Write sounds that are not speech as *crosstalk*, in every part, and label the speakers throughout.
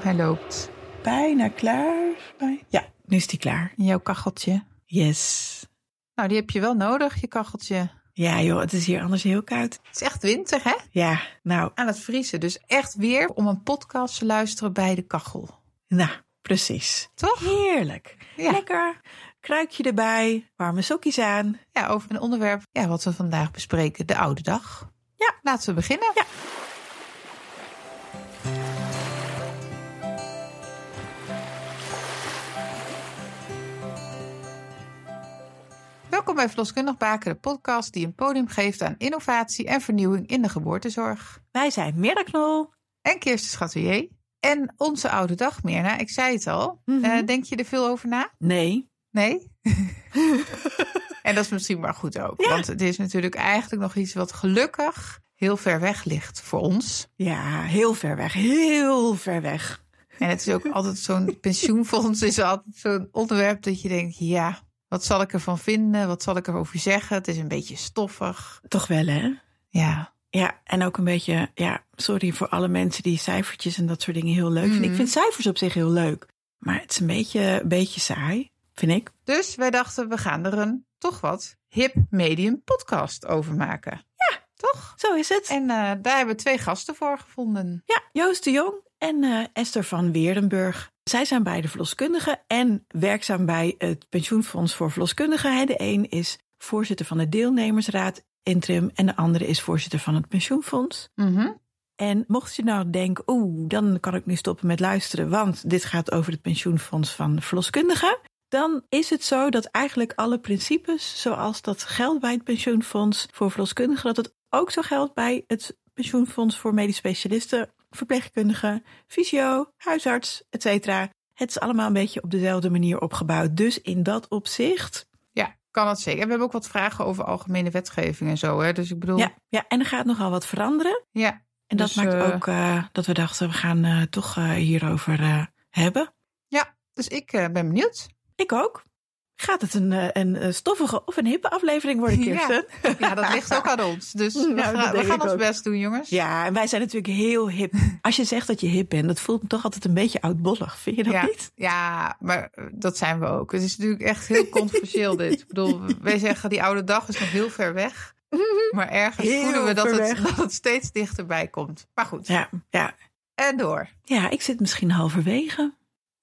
Speaker 1: Hij loopt.
Speaker 2: Bijna klaar. Bij... Ja, nu is die klaar.
Speaker 1: Jouw kacheltje.
Speaker 2: Yes.
Speaker 1: Nou, die heb je wel nodig, je kacheltje.
Speaker 2: Ja joh, het is hier anders heel koud.
Speaker 1: Het is echt winter, hè?
Speaker 2: Ja, nou,
Speaker 1: Aan het vriezen. Dus echt weer om een podcast te luisteren bij de kachel.
Speaker 2: nou, precies.
Speaker 1: Toch?
Speaker 2: Heerlijk.
Speaker 1: Ja.
Speaker 2: Lekker. Kruikje erbij. Warme sokjes aan.
Speaker 1: Ja, over een onderwerp ja, wat we vandaag bespreken. De oude dag.
Speaker 2: Ja.
Speaker 1: Laten we beginnen.
Speaker 2: Ja.
Speaker 1: Welkom bij Verloskundig Baken, de podcast die een podium geeft aan innovatie en vernieuwing in de geboortezorg.
Speaker 2: Wij zijn Mirknol.
Speaker 1: En Kirsten Schatelier. En onze oude dag, Mirna. Ik zei het al.
Speaker 2: Mhm.
Speaker 1: Eh, denk je er veel over na?
Speaker 2: Nee. *laughs*
Speaker 1: Nee? en dat is misschien maar goed ook.
Speaker 2: Ja.
Speaker 1: Want het is natuurlijk eigenlijk nog iets wat gelukkig heel ver weg ligt voor ons.
Speaker 2: Ja, heel ver weg. Heel ver weg.
Speaker 1: En het
Speaker 2: *laughs*
Speaker 1: is ook altijd zo'n pensioenfonds is altijd zo'n onderwerp dat je denkt, ja, wat zal ik ervan vinden? Wat zal ik erover zeggen? Het is een beetje stoffig.
Speaker 2: Toch wel, hè?
Speaker 1: Ja,
Speaker 2: Ja, en ook een beetje, ja, sorry voor alle mensen die cijfertjes en dat soort dingen heel leuk vinden.
Speaker 1: Mhm.
Speaker 2: Ik vind cijfers op zich heel leuk, maar het is een beetje, een beetje saai, vind ik.
Speaker 1: dus wij dachten, we gaan er een toch wat hip medium podcast over maken. Ja, toch?
Speaker 2: Zo is het.
Speaker 1: En eh, daar hebben we twee gasten voor gevonden.
Speaker 2: Ja, Joost de Jong en eh, Esther van Weerdenburg. Zij zijn beide verloskundigen en werkzaam bij het Pensioenfonds voor Verloskundigen. Hè, De een is voorzitter van de deelnemersraad interim en de andere is voorzitter van het Pensioenfonds.
Speaker 1: Mhm.
Speaker 2: En mocht je nou denken, oeh, dan kan ik nu stoppen met luisteren, want dit gaat over het pensioenfonds van verloskundigen. Dan is het zo dat eigenlijk alle principes, zoals dat geldt bij het pensioenfonds voor verloskundigen, dat het ook zo geldt bij het pensioenfonds voor medisch specialisten, verpleegkundigen, fysio, huisarts, etc. Het is allemaal een beetje op dezelfde manier opgebouwd. Dus in dat opzicht.
Speaker 1: Ja, kan dat zeker. En we hebben ook wat vragen over algemene wetgeving en zo. Hè? Dus ik bedoel,
Speaker 2: Ja, ja, en er gaat nogal wat veranderen.
Speaker 1: ja,
Speaker 2: En dat
Speaker 1: Dus,
Speaker 2: maakt
Speaker 1: eh,
Speaker 2: ook eh, dat we dachten, we gaan eh, toch eh, hierover eh, hebben.
Speaker 1: Dus ik eh, ben benieuwd.
Speaker 2: Ik ook. Gaat het een, eh, een eh, stoffige of een hippe aflevering worden,
Speaker 1: Ja.
Speaker 2: Kirsten? Ja,
Speaker 1: *laughs* Ja,
Speaker 2: *laughs*
Speaker 1: dat ligt ook aan ons. Dus
Speaker 2: Nou,
Speaker 1: we
Speaker 2: dat
Speaker 1: gaan, we
Speaker 2: denk
Speaker 1: gaan
Speaker 2: ik
Speaker 1: ons
Speaker 2: ook.
Speaker 1: best doen, jongens.
Speaker 2: Ja, en wij zijn natuurlijk heel
Speaker 1: *laughs*
Speaker 2: hip. Als je zegt dat je hip bent, dat voelt me toch altijd een beetje oudbollig. Vind je dat
Speaker 1: ja,
Speaker 2: niet?
Speaker 1: ja, maar eh, dat zijn we ook. Het is natuurlijk echt
Speaker 2: *laughs*
Speaker 1: heel controversieel dit. Ik bedoel, wij zeggen die oude dag is nog heel ver weg. Maar ergens
Speaker 2: Mhm. Heel
Speaker 1: voelen we dat
Speaker 2: ver
Speaker 1: het,
Speaker 2: weg.
Speaker 1: *laughs* dat het steeds dichterbij komt. Maar goed,
Speaker 2: Ja, ja.
Speaker 1: en door.
Speaker 2: ja, ik zit misschien halverwege.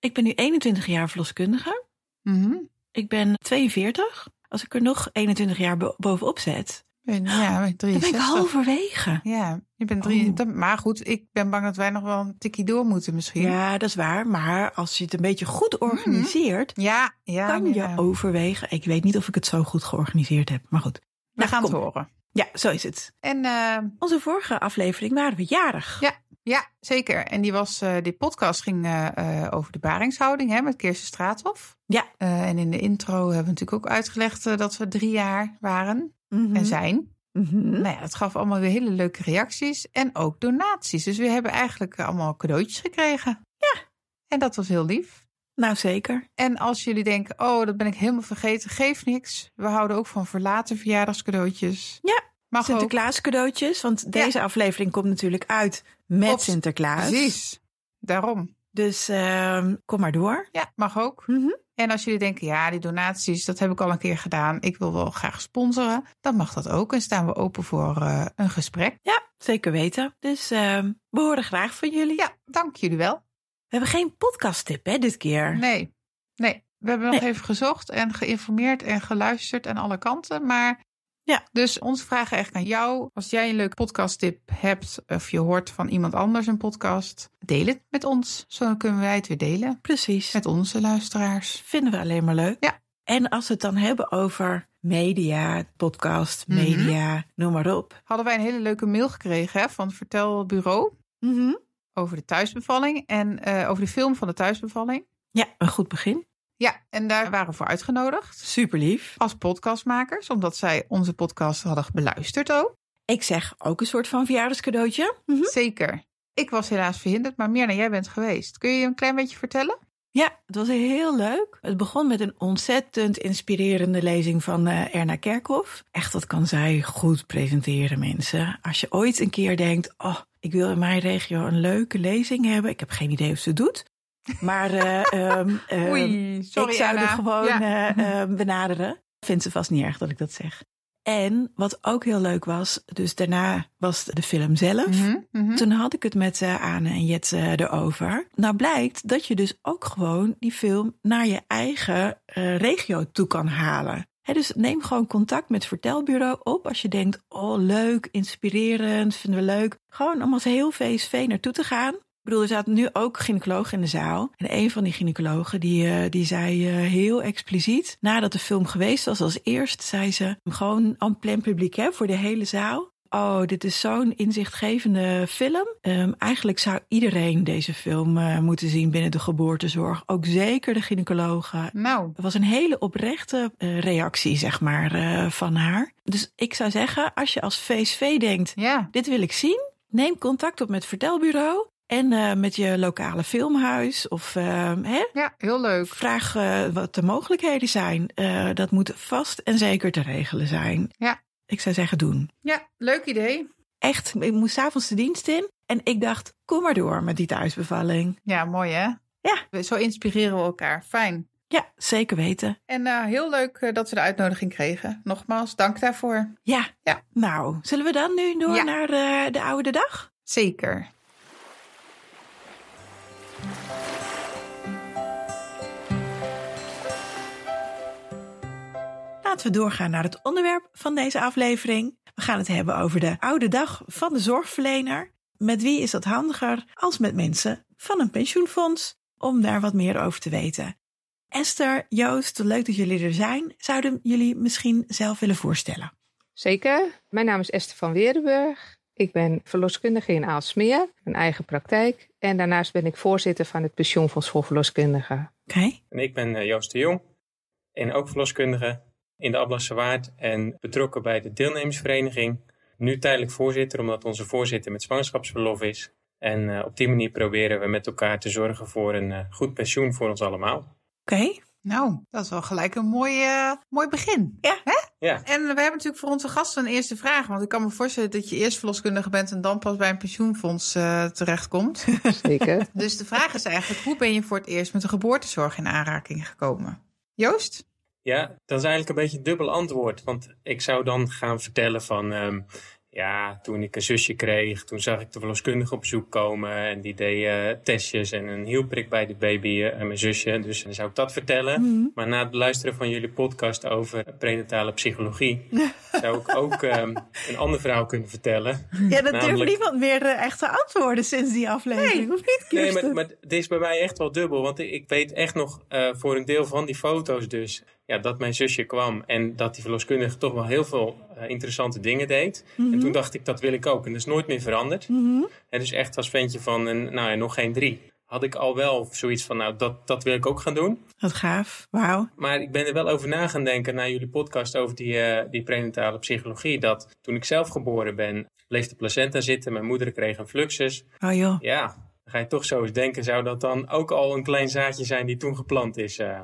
Speaker 2: Ik ben nu 21 jaar verloskundige.
Speaker 1: Mhm.
Speaker 2: Ik ben 42. Als ik er nog 21 jaar bo- bovenop zet,
Speaker 1: En Ja, ik ben
Speaker 2: dan ben ik
Speaker 1: 63.
Speaker 2: halverwege.
Speaker 1: Ja, je bent drie.
Speaker 2: Oh.
Speaker 1: dat- Maar goed, ik ben bang dat wij nog wel een tikkie door moeten misschien.
Speaker 2: Ja, dat is waar. Maar als je het een beetje goed organiseert,
Speaker 1: ja. Mhm. ja,
Speaker 2: kan je
Speaker 1: ja.
Speaker 2: overwegen. Ik weet niet of ik het zo goed georganiseerd heb, maar goed.
Speaker 1: We
Speaker 2: Nou,
Speaker 1: gaan het
Speaker 2: kom.
Speaker 1: horen.
Speaker 2: Ja, zo is het.
Speaker 1: En eh,
Speaker 2: Onze vorige aflevering waren we jarig.
Speaker 1: Ja. Ja, zeker. En die, was, eh, die podcast ging eh, eh, over de baringshouding hè, met Kirsten Straathof.
Speaker 2: Ja.
Speaker 1: Eh, en in de intro hebben we natuurlijk ook uitgelegd eh, dat we drie jaar waren
Speaker 2: Mhm.
Speaker 1: en zijn.
Speaker 2: Mhm.
Speaker 1: Nou ja, dat gaf allemaal weer hele leuke reacties en ook donaties. Dus we hebben eigenlijk eh, allemaal cadeautjes gekregen. Ja. En dat was heel lief.
Speaker 2: Nou, zeker.
Speaker 1: En als jullie denken, oh, dat ben ik helemaal vergeten, geef niks. We houden ook van verlaten verjaardagscadeautjes.
Speaker 2: Ja.
Speaker 1: Mag ook.
Speaker 2: Sinterklaas cadeautjes, want deze aflevering komt natuurlijk uit met
Speaker 1: Op-
Speaker 2: Sinterklaas.
Speaker 1: Precies. Daarom.
Speaker 2: Dus ehm, kom maar door.
Speaker 1: Ja, mag ook.
Speaker 2: Mhm.
Speaker 1: En als jullie denken, ja, die donaties, dat heb ik al een keer gedaan. Ik wil wel graag sponsoren. Dan mag dat ook en staan we open voor eh, een gesprek.
Speaker 2: Ja, zeker weten. Dus ehm, we horen graag van jullie.
Speaker 1: Ja, dank jullie wel.
Speaker 2: We hebben geen podcasttip hè, dit keer.
Speaker 1: Nee, nee. We hebben nog even gezocht en geïnformeerd en geluisterd aan alle kanten. Maar
Speaker 2: Ja.
Speaker 1: dus onze vraag eigenlijk aan jou. Als jij een leuke podcasttip hebt of je hoort van iemand anders een podcast, deel het met ons. Zo kunnen wij het weer delen
Speaker 2: Precies.
Speaker 1: met onze luisteraars.
Speaker 2: vinden we alleen maar leuk.
Speaker 1: Ja.
Speaker 2: En als we het dan hebben over media, podcast,
Speaker 1: Mhm.
Speaker 2: media, noem maar op.
Speaker 1: Hadden wij een hele leuke mail gekregen hè, van Vertel Bureau. Mhm. over de thuisbevalling en eh, over de film van de thuisbevalling.
Speaker 2: Ja, een goed begin.
Speaker 1: Ja, en daar waren we voor uitgenodigd
Speaker 2: Super lief.
Speaker 1: als podcastmakers, omdat zij onze podcast hadden beluisterd ook.
Speaker 2: Ik zeg ook een soort van
Speaker 1: Hm?
Speaker 2: verjaardagscadeautje. Mhm.
Speaker 1: Zeker. Ik was helaas verhinderd, maar Mirna, jij bent geweest. Kun je je een klein beetje vertellen?
Speaker 2: Ja, het was heel leuk. Het begon met een ontzettend inspirerende lezing van eh, Erna Kerkhoff. Echt, dat kan zij goed presenteren, mensen. Als je ooit een keer denkt, oh, ik wil in mijn regio een leuke lezing hebben. Ik heb geen idee of ze het doet. Maar eh,
Speaker 1: *laughs*
Speaker 2: ehm, ehm,
Speaker 1: Oei, sorry
Speaker 2: ik zou
Speaker 1: Erna.
Speaker 2: er gewoon
Speaker 1: Ja. Mhm.
Speaker 2: eh, eh, benaderen. Vindt ze vast niet erg dat ik dat zeg. En wat ook heel leuk was, dus daarna was de film zelf.
Speaker 1: Mhm, mhm.
Speaker 2: Toen had ik het met eh Ane en Jet eh, erover. Nou blijkt dat je dus ook gewoon die film naar je eigen eh, regio toe kan halen. Hè, dus neem gewoon contact met het vertelbureau op als je denkt, oh leuk, inspirerend, vinden we leuk. Gewoon om als heel VSV naartoe te gaan. Ik bedoel, er zaten nu ook gynaecologen in de zaal. En een van die gynaecologen die, eh, die zei eh, heel expliciet... nadat de film geweest was als eerst, zei ze... gewoon en plein publiek hè, voor de hele zaal. Oh, dit is zo'n inzichtgevende film. Ehm, eigenlijk zou iedereen deze film eh, moeten zien binnen de geboortezorg. Ook zeker de gynaecologen.
Speaker 1: Nou,
Speaker 2: Het was een hele oprechte eh, reactie, zeg maar, eh, van haar. Dus ik zou zeggen, als je als VSV denkt...
Speaker 1: ja.
Speaker 2: Dit wil ik zien. Neem contact op met het vertelbureau en eh, met je lokale filmhuis. Of eh, hè,
Speaker 1: Ja, heel leuk.
Speaker 2: vraag eh, wat de mogelijkheden zijn. Eh, dat moet vast en zeker te regelen zijn.
Speaker 1: Ja.
Speaker 2: Ik zou zeggen doen.
Speaker 1: Ja, leuk idee.
Speaker 2: Echt, ik moest s'avonds de dienst in. En ik dacht, kom maar door met die thuisbevalling.
Speaker 1: Ja, mooi hè?
Speaker 2: Ja.
Speaker 1: We- Zo inspireren we elkaar. Fijn.
Speaker 2: Ja, zeker weten.
Speaker 1: En eh, heel leuk eh, dat we de uitnodiging kregen. Nogmaals, dank daarvoor.
Speaker 2: Ja.
Speaker 1: Ja.
Speaker 2: Nou, zullen we dan nu door
Speaker 1: Ja.
Speaker 2: naar eh, de oude dag?
Speaker 1: Zeker.
Speaker 2: Laten we doorgaan naar het onderwerp van deze aflevering. We gaan het hebben over de oude dag van de zorgverlener. Met wie is dat handiger als met mensen van een pensioenfonds? Om daar wat meer over te weten. Esther, Joost, leuk dat jullie er zijn. Zouden jullie misschien zelf willen voorstellen?
Speaker 3: Zeker. Mijn naam is Esther van Weerdenburg. Ik ben verloskundige in Aalsmeer, een eigen praktijk. En daarnaast ben ik voorzitter van het Pensioenfonds voor Verloskundigen.
Speaker 2: Oké,
Speaker 4: En ik ben eh, Joost de Jong en ook verloskundige in de Ablasse Waard en betrokken bij de deelnemersvereniging. Nu tijdelijk voorzitter, omdat onze voorzitter met zwangerschapsverlof is. En eh, op die manier proberen we met elkaar te zorgen voor een eh, goed pensioen voor ons allemaal.
Speaker 2: oké.
Speaker 1: Nou, dat is wel gelijk een mooi, eh, mooi begin.
Speaker 2: Ja.
Speaker 1: Hè?
Speaker 4: Ja.
Speaker 1: En we hebben natuurlijk voor onze gasten een eerste vraag. Want ik kan me voorstellen dat je eerst verloskundige bent en dan pas bij een pensioenfonds eh, terechtkomt.
Speaker 3: Zeker.
Speaker 1: dus de vraag is eigenlijk, hoe ben je voor het eerst met de geboortezorg in aanraking gekomen? Joost?
Speaker 4: Ja, dat is eigenlijk een beetje een dubbel antwoord. Want ik zou dan gaan vertellen van... ehm, ja, toen ik een zusje kreeg, toen zag ik de verloskundige op bezoek komen. En die deed eh, testjes en een hielprik bij de baby eh, en mijn zusje. Dus dan zou ik dat vertellen.
Speaker 2: Mhm.
Speaker 4: Maar na het luisteren van jullie podcast over prenatale psychologie... zou ik ook ehm, een ander verhaal kunnen vertellen.
Speaker 2: Ja, dat durft
Speaker 4: Namelijk-
Speaker 2: niemand meer eh, echt te antwoorden sinds die aflevering. of niet,
Speaker 4: Nee,
Speaker 2: Kirsten?
Speaker 4: maar, maar dit is bij mij echt wel dubbel. Want ik weet echt nog eh, voor een deel van die foto's dus... Ja, dat mijn zusje kwam en dat die verloskundige toch wel heel veel eh, interessante dingen deed. En toen dacht ik, dat wil ik ook. En dat is nooit meer veranderd.
Speaker 2: Mhm.
Speaker 4: En dus echt als ventje van, een, nou ja, nog geen drie. Had ik al wel zoiets van, nou, dat, dat wil ik ook gaan doen.
Speaker 2: Wat gaaf, wauw.
Speaker 4: Maar ik ben er wel over na gaan denken na jullie podcast over die, eh, die prenatale psychologie. Dat toen ik zelf geboren ben, bleef de placenta zitten. Mijn moeder kreeg een fluxus.
Speaker 2: Oh joh,
Speaker 4: Ja, dan ga je toch zo eens denken. Zou dat dan ook al een klein zaadje zijn die toen geplant is? eh?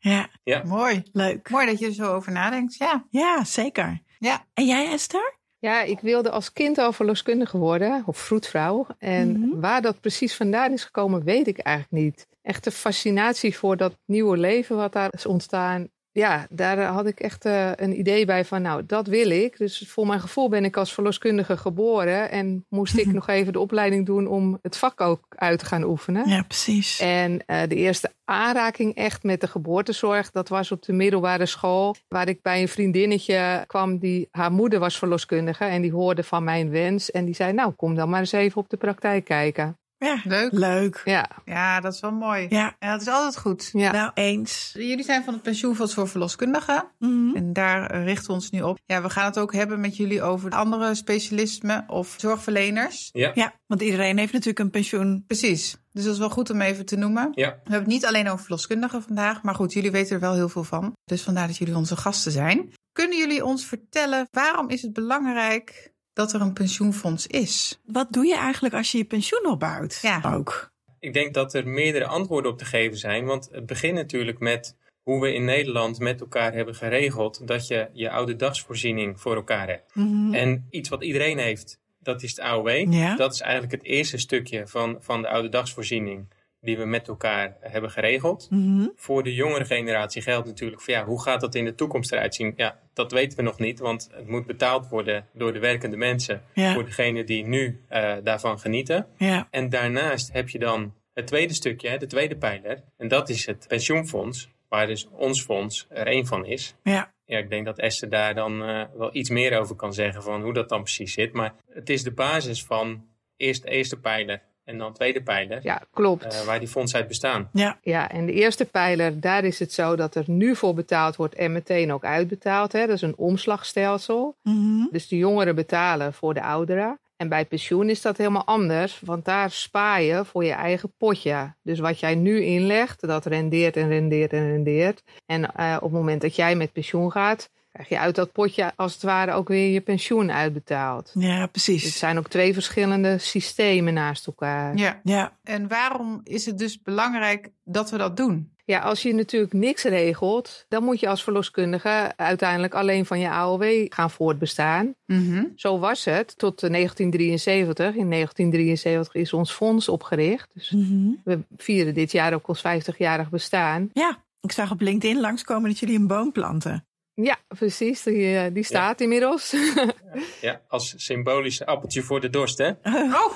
Speaker 2: ja, ja,
Speaker 1: Mooi.
Speaker 2: leuk.
Speaker 1: Mooi dat je er zo over nadenkt. Ja,
Speaker 2: Ja, zeker.
Speaker 1: Ja.
Speaker 2: En jij, Esther?
Speaker 3: Ja, ik wilde als kind al verloskundige worden, of vroedvrouw. En
Speaker 2: Mhm.
Speaker 3: waar dat precies vandaan is gekomen, weet ik eigenlijk niet. Echt de fascinatie voor dat nieuwe leven wat daar is ontstaan. Ja, daar had ik echt eh, een idee bij van, nou, dat wil ik. Dus voor mijn gevoel ben ik als verloskundige geboren. En moest ik nog even de opleiding doen om het vak ook uit te gaan oefenen.
Speaker 2: Ja, precies.
Speaker 3: En eh, de eerste aanraking echt met de geboortezorg, dat was op de middelbare school. Waar ik bij een vriendinnetje kwam, die, haar moeder was verloskundige. En die hoorde van mijn wens. En die zei, nou kom dan maar eens even op de praktijk kijken.
Speaker 2: Ja,
Speaker 1: leuk.
Speaker 2: leuk.
Speaker 3: Ja,
Speaker 1: Ja, dat is wel mooi.
Speaker 2: Ja,
Speaker 1: Ja, dat is altijd goed.
Speaker 3: ja.
Speaker 2: nou eens.
Speaker 1: Jullie zijn van het pensioenfonds voor verloskundigen.
Speaker 2: Mhm.
Speaker 1: En daar eh, richten we ons nu op. Ja, we gaan het ook hebben met jullie over andere specialismen of zorgverleners.
Speaker 4: Ja,
Speaker 2: Ja, want iedereen heeft natuurlijk een pensioen.
Speaker 1: Precies. Dus dat is wel goed om even te noemen.
Speaker 4: ja.
Speaker 1: We hebben het niet alleen over verloskundigen vandaag, maar goed, jullie weten er wel heel veel van. Dus vandaar dat jullie onze gasten zijn. Kunnen jullie ons vertellen waarom is het belangrijk dat er een pensioenfonds is?
Speaker 2: Wat doe je eigenlijk als je je pensioen opbouwt?
Speaker 1: Ja.
Speaker 2: Ook.
Speaker 4: ik denk dat er meerdere antwoorden op te geven zijn. Want het begint natuurlijk met hoe we in Nederland met elkaar hebben geregeld dat je je oude dagsvoorziening voor elkaar hebt.
Speaker 2: Mhm.
Speaker 4: En iets wat iedereen heeft, dat is het AOW.
Speaker 2: Ja.
Speaker 4: Dat is eigenlijk het eerste stukje van, van de oude dagsvoorziening die we met elkaar hebben geregeld.
Speaker 2: Mhm.
Speaker 4: Voor de jongere generatie geldt natuurlijk van ja, hoe gaat dat in de toekomst eruit zien? Ja, dat weten we nog niet, want het moet betaald worden door de werkende mensen,
Speaker 2: Ja.
Speaker 4: voor degene die nu eh, daarvan genieten.
Speaker 2: Ja.
Speaker 4: En daarnaast heb je dan het tweede stukje, hè, de tweede pijler. En dat is het pensioenfonds, waar dus ons fonds er één van is.
Speaker 2: Ja.
Speaker 4: Ja, ik denk dat Esther daar dan eh, wel iets meer over kan zeggen van hoe dat dan precies zit. Maar het is de basis van eerst de eerste pijler en dan de tweede pijler,
Speaker 3: Ja, klopt.
Speaker 4: eh, waar die fondsen uit bestaan.
Speaker 2: Ja.
Speaker 3: Ja, en de eerste pijler, daar is het zo dat er nu voor betaald wordt en meteen ook uitbetaald. Hè? Dat is een omslagstelsel.
Speaker 2: Mhm.
Speaker 3: Dus de jongeren betalen voor de ouderen. En bij pensioen is dat helemaal anders, want daar spaar je voor je eigen potje. Dus wat jij nu inlegt, dat rendeert en rendeert en rendeert. En eh, op het moment dat jij met pensioen gaat, krijg je uit dat potje als het ware ook weer je pensioen uitbetaald.
Speaker 2: Ja,
Speaker 3: Dus het
Speaker 2: precies.
Speaker 3: zijn ook twee verschillende systemen naast elkaar.
Speaker 1: Ja.
Speaker 2: Ja.
Speaker 1: En waarom is het dus belangrijk dat we dat doen?
Speaker 3: Ja, als je natuurlijk niks regelt, dan moet je als verloskundige uiteindelijk alleen van je AOW gaan voortbestaan.
Speaker 1: Mhm.
Speaker 3: Zo was het tot 1973. In 1973 is ons fonds opgericht. Dus
Speaker 2: Mhm.
Speaker 3: we vieren dit jaar ook ons 50-jarig bestaan.
Speaker 2: Ja, ik zag op LinkedIn langskomen dat jullie een boom planten.
Speaker 3: Ja, precies. Die, eh, die staat inmiddels. *laughs*
Speaker 4: Ja, als symbolisch appeltje voor de dorst, hè?
Speaker 1: Oh,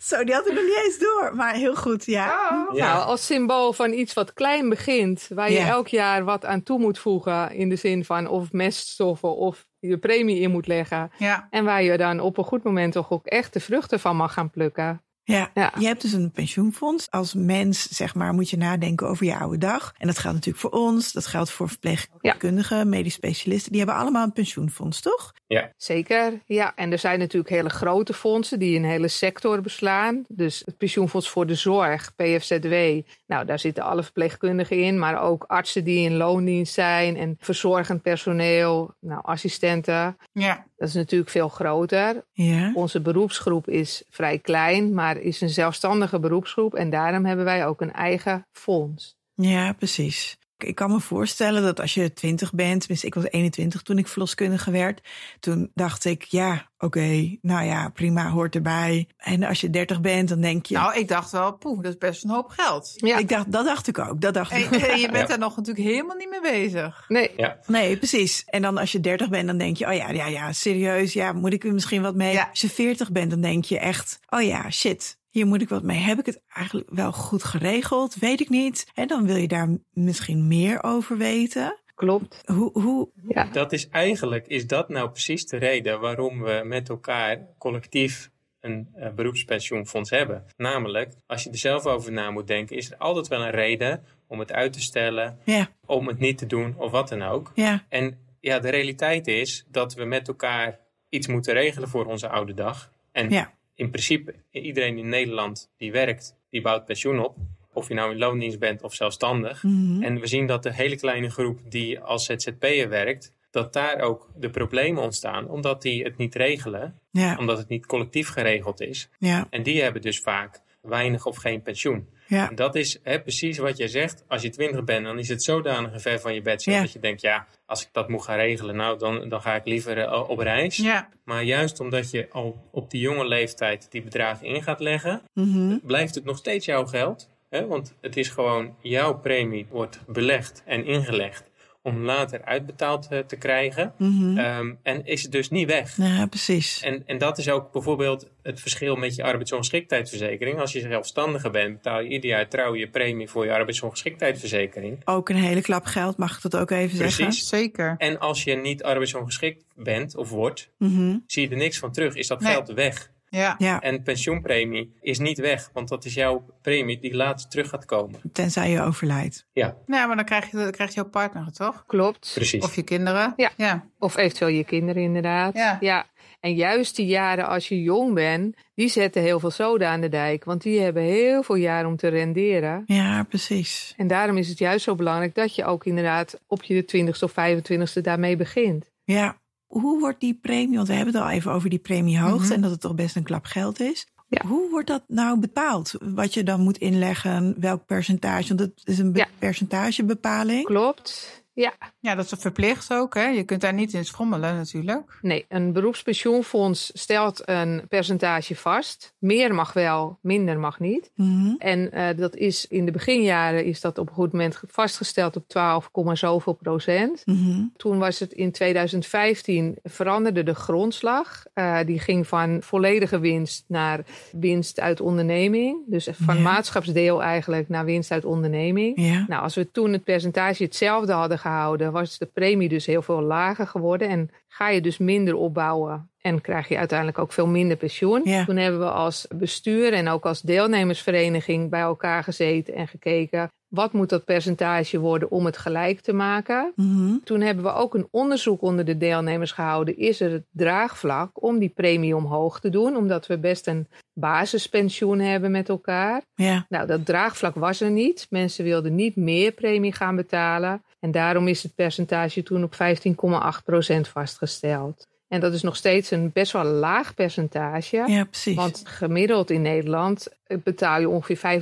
Speaker 2: Zo, die had ik nog niet eens door. Maar heel goed,
Speaker 1: Oh.
Speaker 2: ja.
Speaker 3: Nou, als symbool van iets wat klein begint, waar je
Speaker 2: Ja.
Speaker 3: elk jaar wat aan toe moet voegen. In de zin van of meststoffen of je premie in moet leggen.
Speaker 1: ja.
Speaker 3: En waar je dan op een goed moment toch ook echt de vruchten van mag gaan plukken.
Speaker 2: Ja.
Speaker 3: Ja.
Speaker 2: Je hebt dus een pensioenfonds. Als mens, zeg maar, moet je nadenken over je oude dag. En dat geldt natuurlijk voor ons. Dat geldt voor verpleegkundigen, medisch specialisten. Die hebben allemaal een pensioenfonds, toch?
Speaker 3: Zeker, ja. En er zijn natuurlijk hele grote fondsen die een hele sector beslaan. Dus het Pensioenfonds voor de Zorg, PFZW. Nou, daar zitten alle verpleegkundigen in, maar ook artsen die in loondienst zijn en verzorgend personeel, nou, assistenten.
Speaker 1: ja.
Speaker 3: Dat is natuurlijk veel groter.
Speaker 2: Ja.
Speaker 3: Onze beroepsgroep is vrij klein, maar is een zelfstandige beroepsgroep. En daarom hebben wij ook een eigen fonds.
Speaker 2: Ja, precies. Ik kan me voorstellen dat als je twintig bent, tenminste ik was 21 toen ik verloskundige werd, toen dacht ik, ja, oké, nou ja, prima, hoort erbij. En als je 30 bent, dan denk je,
Speaker 1: Nou, ik dacht wel, poeh, dat is best een hoop geld.
Speaker 3: Ja,
Speaker 2: ik dacht, dat dacht ik ook, dat dacht
Speaker 1: En,
Speaker 2: ik ook.
Speaker 1: en je bent
Speaker 4: Ja.
Speaker 1: daar nog natuurlijk helemaal niet mee bezig.
Speaker 3: nee,
Speaker 2: Nee, precies. En dan als je 30 bent, dan denk je, oh ja, ja, ja, serieus, ja, moet ik er misschien wat mee?
Speaker 1: Ja.
Speaker 2: Als je 40 bent, dan denk je echt, oh ja, shit, hier moet ik wat mee. Heb ik het eigenlijk wel goed geregeld? Weet ik niet. En dan wil je daar misschien meer over weten.
Speaker 3: klopt.
Speaker 2: Hoe, hoe,
Speaker 3: Ja.
Speaker 4: Dat is eigenlijk, is dat nou precies de reden waarom we met elkaar collectief een eh, beroepspensioenfonds hebben? Namelijk, als je er zelf over na moet denken, is er altijd wel een reden om het uit te stellen,
Speaker 2: ja,
Speaker 4: om het niet te doen of wat dan ook.
Speaker 2: ja,
Speaker 4: En ja, de realiteit is dat we met elkaar iets moeten regelen voor onze oude dag. En
Speaker 2: ja.
Speaker 4: in principe, iedereen in Nederland die werkt, die bouwt pensioen op. Of je nou in loondienst bent of zelfstandig.
Speaker 2: Mhm.
Speaker 4: En we zien dat de hele kleine groep die als ZZP'er werkt, dat daar ook de problemen ontstaan, omdat die het niet regelen,
Speaker 2: Ja,
Speaker 4: omdat het niet collectief geregeld is.
Speaker 2: ja,
Speaker 4: En die hebben dus vaak weinig of geen pensioen.
Speaker 2: ja,
Speaker 4: En dat is hè, precies wat jij zegt. Als je twintig bent, dan is het zodanig een ver van je bed zit
Speaker 2: Ja.
Speaker 4: dat je denkt, ja, als ik dat moet gaan regelen, nou, dan, dan ga ik liever eh, op reis.
Speaker 1: Ja,
Speaker 4: Maar juist omdat je al op die jonge leeftijd die bedragen in gaat leggen,
Speaker 2: Mhm.
Speaker 4: blijft het nog steeds jouw geld. Hè? Want het is gewoon jouw premie wordt belegd en ingelegd om later uitbetaald eh, te krijgen.
Speaker 2: Mhm.
Speaker 4: Ehm, en is het dus niet weg.
Speaker 2: ja, precies.
Speaker 4: En, en dat is ook bijvoorbeeld het verschil met je arbeidsongeschiktheidsverzekering. Als je zelfstandige bent, betaal je ieder jaar trouw je premie voor je arbeidsongeschiktheidsverzekering.
Speaker 2: Ook een hele klap geld, mag ik dat ook even zeggen?
Speaker 4: Precies.
Speaker 1: zeker.
Speaker 4: En als je niet arbeidsongeschikt bent of wordt,
Speaker 2: Mhm.
Speaker 4: zie je er niks van terug. Is dat
Speaker 1: Nee.
Speaker 4: geld weg?
Speaker 1: Ja.
Speaker 2: Ja,
Speaker 4: En pensioenpremie is niet weg, want dat is jouw premie die later terug gaat komen.
Speaker 2: tenzij je overlijdt.
Speaker 4: Ja,
Speaker 1: Nou, maar dan krijg je, dan krijgt jouw partner het, toch?
Speaker 3: Klopt.
Speaker 4: precies.
Speaker 1: Of je kinderen.
Speaker 3: Ja.
Speaker 1: Ja.
Speaker 3: Of eventueel je kinderen, inderdaad.
Speaker 1: Ja.
Speaker 3: En juist die jaren als je jong bent, die zetten heel veel soda aan de dijk. Want die hebben heel veel jaar om te renderen.
Speaker 2: Ja, precies.
Speaker 3: En daarom is het juist zo belangrijk dat je ook inderdaad op je 20ste of 25ste daarmee begint.
Speaker 2: Ja. Hoe wordt die premie, want we hebben het al even over die premiehoogte
Speaker 1: Mhm.
Speaker 2: en dat het toch best een klap geld is.
Speaker 3: Ja.
Speaker 2: Hoe wordt dat nou bepaald? Wat je dan moet inleggen, welk percentage? Want dat is een be-
Speaker 3: Ja.
Speaker 2: percentagebepaling.
Speaker 3: Klopt. Ja,
Speaker 1: Ja, dat is verplicht ook. Hè? Je kunt daar niet in schommelen natuurlijk.
Speaker 3: nee. Een beroepspensioenfonds stelt een percentage vast. Meer mag wel, minder mag niet.
Speaker 2: Mhm.
Speaker 3: En eh, dat is in de beginjaren is dat op een goed moment vastgesteld op 12, komma zoveel procent.
Speaker 2: Mhm.
Speaker 3: Toen was het in 2015 veranderde de grondslag. Eh, die ging van volledige winst naar winst uit onderneming. Dus van
Speaker 2: Ja.
Speaker 3: maatschapsdeel eigenlijk naar winst uit onderneming.
Speaker 2: Ja.
Speaker 3: Nou, als we toen het percentage hetzelfde hadden gehouden, was de premie dus heel veel lager geworden. En ga je dus minder opbouwen en krijg je uiteindelijk ook veel minder pensioen.
Speaker 2: Ja.
Speaker 3: Toen hebben we als bestuur en ook als deelnemersvereniging bij elkaar gezeten en gekeken. Wat moet dat percentage worden om het gelijk te maken?
Speaker 2: Mhm.
Speaker 3: Toen hebben we ook een onderzoek onder de deelnemers gehouden. Is er het draagvlak om die premie omhoog te doen? Omdat we best een basispensioen hebben met elkaar.
Speaker 2: ja.
Speaker 3: Nou, dat draagvlak was er niet. Mensen wilden niet meer premie gaan betalen. En daarom is het percentage toen op 15,8% vastgesteld. En dat is nog steeds een best wel laag percentage.
Speaker 2: Ja, precies.
Speaker 3: Want gemiddeld in Nederland eh, betaal je ongeveer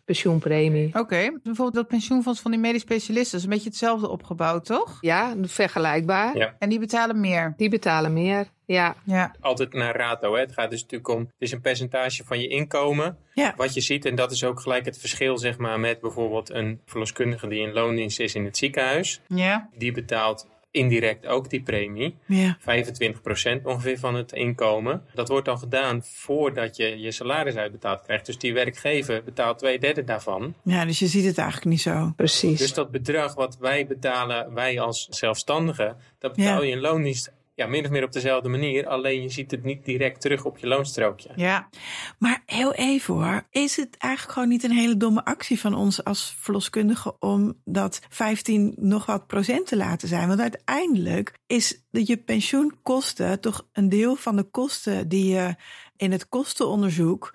Speaker 3: 25% pensioenpremie.
Speaker 1: Oké, bijvoorbeeld dat pensioenfonds van die medisch specialisten is een beetje hetzelfde opgebouwd, toch?
Speaker 3: Ja, vergelijkbaar.
Speaker 4: Ja.
Speaker 1: En die betalen meer.
Speaker 3: Die betalen meer. Ja,
Speaker 1: Ja,
Speaker 4: Altijd naar rato. Hè? Het gaat dus natuurlijk om, het is een percentage van je inkomen.
Speaker 2: Ja.
Speaker 4: Wat je ziet, en dat is ook gelijk het verschil zeg maar, met bijvoorbeeld een verloskundige die in loondienst is in het ziekenhuis.
Speaker 1: ja.
Speaker 4: Die betaalt indirect ook die premie.
Speaker 2: ja.
Speaker 4: 25% ongeveer van het inkomen. Dat wordt dan gedaan voordat je je salaris uitbetaald krijgt. Dus die werkgever betaalt twee derde daarvan.
Speaker 2: ja, dus je ziet het eigenlijk niet zo.
Speaker 3: precies.
Speaker 4: Dus dat bedrag wat wij betalen, wij als zelfstandigen, dat betaal
Speaker 2: Ja.
Speaker 4: je in loondienst ja, min of meer op dezelfde manier. Alleen je ziet het niet direct terug op je loonstrookje.
Speaker 1: ja.
Speaker 2: Maar heel even hoor, is het eigenlijk gewoon niet een hele domme actie van ons als verloskundigen om dat 15 nog wat procent te laten zijn? Want uiteindelijk is dat je pensioenkosten toch een deel van de kosten die je in het kostenonderzoek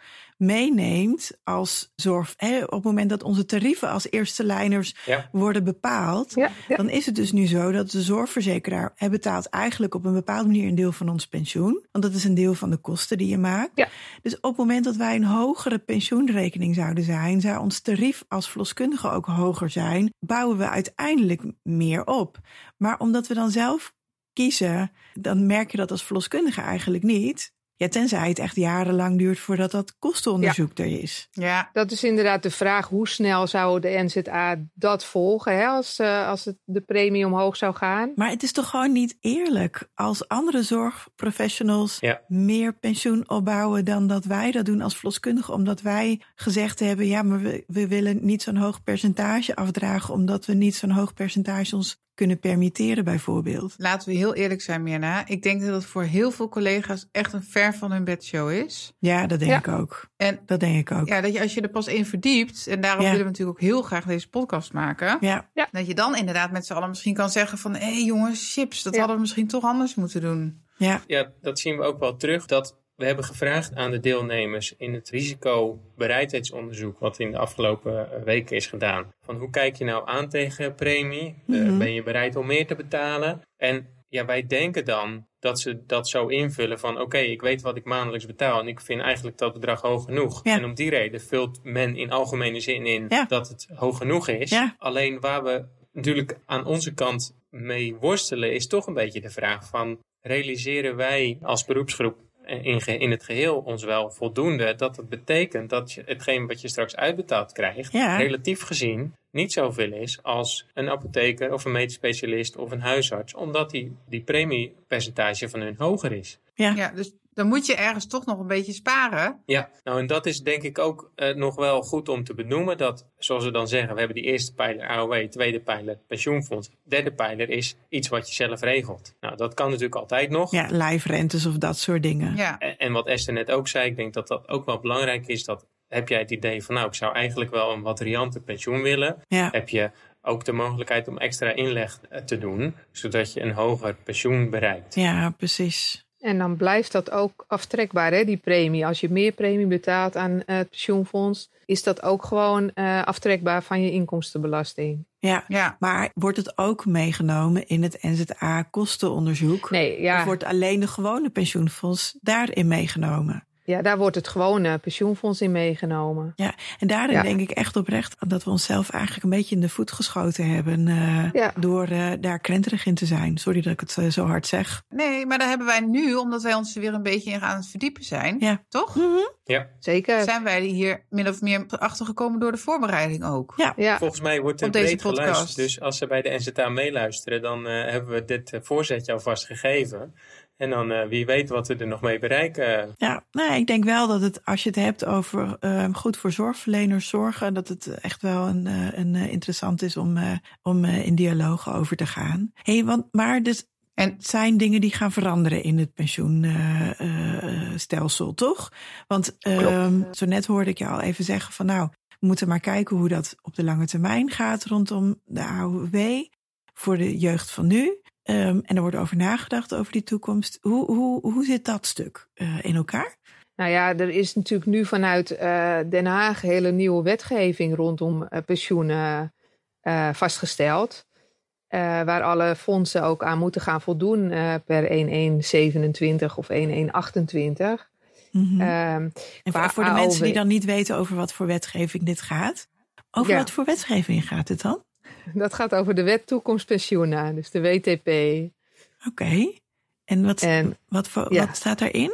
Speaker 2: meeneemt als zorg. Hè, op het moment dat onze tarieven als eerste lijners
Speaker 4: Ja.
Speaker 2: worden bepaald,
Speaker 3: Ja, ja.
Speaker 2: dan is het dus nu zo dat de zorgverzekeraar hij betaalt eigenlijk op een bepaalde manier een deel van ons pensioen. Want dat is een deel van de kosten die je maakt.
Speaker 3: Ja.
Speaker 2: Dus op het moment dat wij een hogere pensioenrekening zouden zijn, zou ons tarief als verloskundige ook hoger zijn, bouwen we uiteindelijk meer op. Maar omdat we dan zelf kiezen, dan merk je dat als verloskundige eigenlijk niet. Ja, tenzij het echt jarenlang duurt voordat dat kostenonderzoek er is.
Speaker 1: ja.
Speaker 3: Dat is inderdaad de vraag. Hoe snel zou de NZA dat volgen hè, als, eh, als het, de premie omhoog zou gaan?
Speaker 2: Maar het is toch gewoon niet eerlijk als andere zorgprofessionals
Speaker 4: Ja.
Speaker 2: meer pensioen opbouwen dan dat wij dat doen als verloskundigen. Omdat wij gezegd hebben, ja, maar we, we willen niet zo'n hoog percentage afdragen, omdat we niet zo'n hoog percentage ons kunnen permitteren bijvoorbeeld.
Speaker 1: Laten we heel eerlijk zijn, Mirna. Ik denk dat het voor heel veel collega's echt een ver van hun bedshow is.
Speaker 2: Ja, dat denk
Speaker 3: Ja.
Speaker 2: ik ook.
Speaker 1: En
Speaker 2: Dat denk ik ook. Ja.
Speaker 1: ja, dat je als je er pas in verdiept, en daarom
Speaker 2: Ja.
Speaker 1: willen we natuurlijk ook heel graag deze podcast maken.
Speaker 2: Ja,
Speaker 1: Dat je dan inderdaad met z'n allen misschien kan zeggen van... hé hey jongens, chips, dat
Speaker 3: Ja.
Speaker 1: hadden we misschien toch anders moeten doen.
Speaker 2: ja,
Speaker 4: Ja, dat zien we ook wel terug. Dat we hebben gevraagd aan de deelnemers in het risicobereidheidsonderzoek, wat in de afgelopen eh, weken is gedaan. Van hoe kijk je nou aan tegen premie? Eh,
Speaker 2: Mhm.
Speaker 4: ben je bereid om meer te betalen? En ja, wij denken dan dat ze dat zo invullen van oké, ik weet wat ik maandelijks betaal en ik vind eigenlijk dat bedrag hoog genoeg.
Speaker 2: Ja.
Speaker 4: En om die reden vult men in algemene zin in
Speaker 2: Ja.
Speaker 4: dat het hoog genoeg is.
Speaker 2: Ja.
Speaker 4: Alleen waar we natuurlijk aan onze kant mee worstelen is toch een beetje de vraag van realiseren wij als beroepsgroep eh, in, ge- in het geheel ons wel voldoende dat het betekent dat je hetgeen wat je straks uitbetaald krijgt,
Speaker 2: Ja.
Speaker 4: relatief gezien niet zoveel is als een apotheker of een medisch specialist of een huisarts, omdat die, die premiepercentage van hun hoger is.
Speaker 2: ja.
Speaker 1: Ja, dus dan moet je ergens toch nog een beetje sparen.
Speaker 4: Ja, nou en dat is denk ik ook eh, nog wel goed om te benoemen. Dat, zoals we dan zeggen, we hebben die eerste pijler AOW, tweede pijler pensioenfonds. Derde pijler is iets wat je zelf regelt. Nou, dat kan natuurlijk altijd nog.
Speaker 2: ja lijfrentes of dat soort dingen.
Speaker 1: Ja,
Speaker 4: En, en wat Esther net ook zei, ik denk dat dat ook wel belangrijk is. Dat heb jij het idee van, nou, ik zou eigenlijk wel een wat riante pensioen willen.
Speaker 2: Ja,
Speaker 4: Heb je ook de mogelijkheid om extra inleg eh, te doen, zodat je een hoger pensioen bereikt.
Speaker 2: ja precies.
Speaker 3: En dan blijft dat ook aftrekbaar, hè, die premie. Als je meer premie betaalt aan eh, het pensioenfonds, is dat ook gewoon eh, aftrekbaar van je inkomstenbelasting.
Speaker 2: Ja.
Speaker 1: ja.
Speaker 2: Maar wordt het ook meegenomen in het NZA kostenonderzoek?
Speaker 3: Nee,
Speaker 2: Of
Speaker 3: ja,
Speaker 2: wordt alleen de gewone pensioenfonds daarin meegenomen?
Speaker 3: Ja, daar wordt het gewone pensioenfonds in meegenomen.
Speaker 2: Ja, en daarin
Speaker 3: Ja.
Speaker 2: denk ik echt oprecht dat we onszelf eigenlijk een beetje in de voet geschoten hebben. eh,
Speaker 3: Ja.
Speaker 2: Door eh, daar krenterig in te zijn. Sorry dat ik het eh, zo hard zeg.
Speaker 1: Nee, maar daar hebben wij nu, omdat wij ons er weer een beetje in gaan verdiepen zijn,
Speaker 2: Ja.
Speaker 1: toch?
Speaker 3: Zeker.
Speaker 1: Zijn wij hier min of meer achter gekomen door de voorbereiding ook?
Speaker 2: Ja.
Speaker 3: Ja,
Speaker 4: Volgens mij wordt er
Speaker 1: Op deze
Speaker 4: breed
Speaker 1: podcast.
Speaker 4: geluisterd. Dus als ze bij de NZA meeluisteren, dan eh, hebben we dit eh, voorzetje alvast gegeven. En dan eh, wie weet wat we er nog mee bereiken.
Speaker 2: Ja, nou, ik denk wel dat het, als je het hebt over eh, goed voor zorgverleners zorgen, dat het echt wel een, eh, een eh, interessant is om, eh, om eh, in dialoog over te gaan. Hey, want, maar dus,
Speaker 1: En
Speaker 2: het zijn dingen die gaan veranderen in het pensioenstelsel, toch? Want ehm, zo net hoorde ik je al even zeggen van nou, we moeten maar kijken hoe dat op de lange termijn gaat rondom de AOW voor de jeugd van nu. Ehm, en er wordt over nagedacht over die toekomst. Hoe, hoe, hoe zit dat stuk eh, in elkaar?
Speaker 3: nou ja, er is natuurlijk nu vanuit eh, Den Haag hele nieuwe wetgeving rondom eh, pensioenen eh, vastgesteld. Eh, waar alle fondsen ook aan moeten gaan voldoen eh, per 1127 of 1128.
Speaker 2: Mhm.
Speaker 3: Ehm,
Speaker 2: en voor,
Speaker 3: qua
Speaker 2: voor de mensen die
Speaker 3: AOW.
Speaker 2: dan niet weten over wat voor wetgeving dit gaat. Over
Speaker 3: Ja.
Speaker 2: wat voor wetgeving gaat het dan?
Speaker 3: dat gaat over de wet toekomstpensioenen, dus de WTP.
Speaker 2: Oké. En, wat,
Speaker 3: En-
Speaker 2: wat, voor,
Speaker 3: Eh, ja.
Speaker 2: wat staat daarin?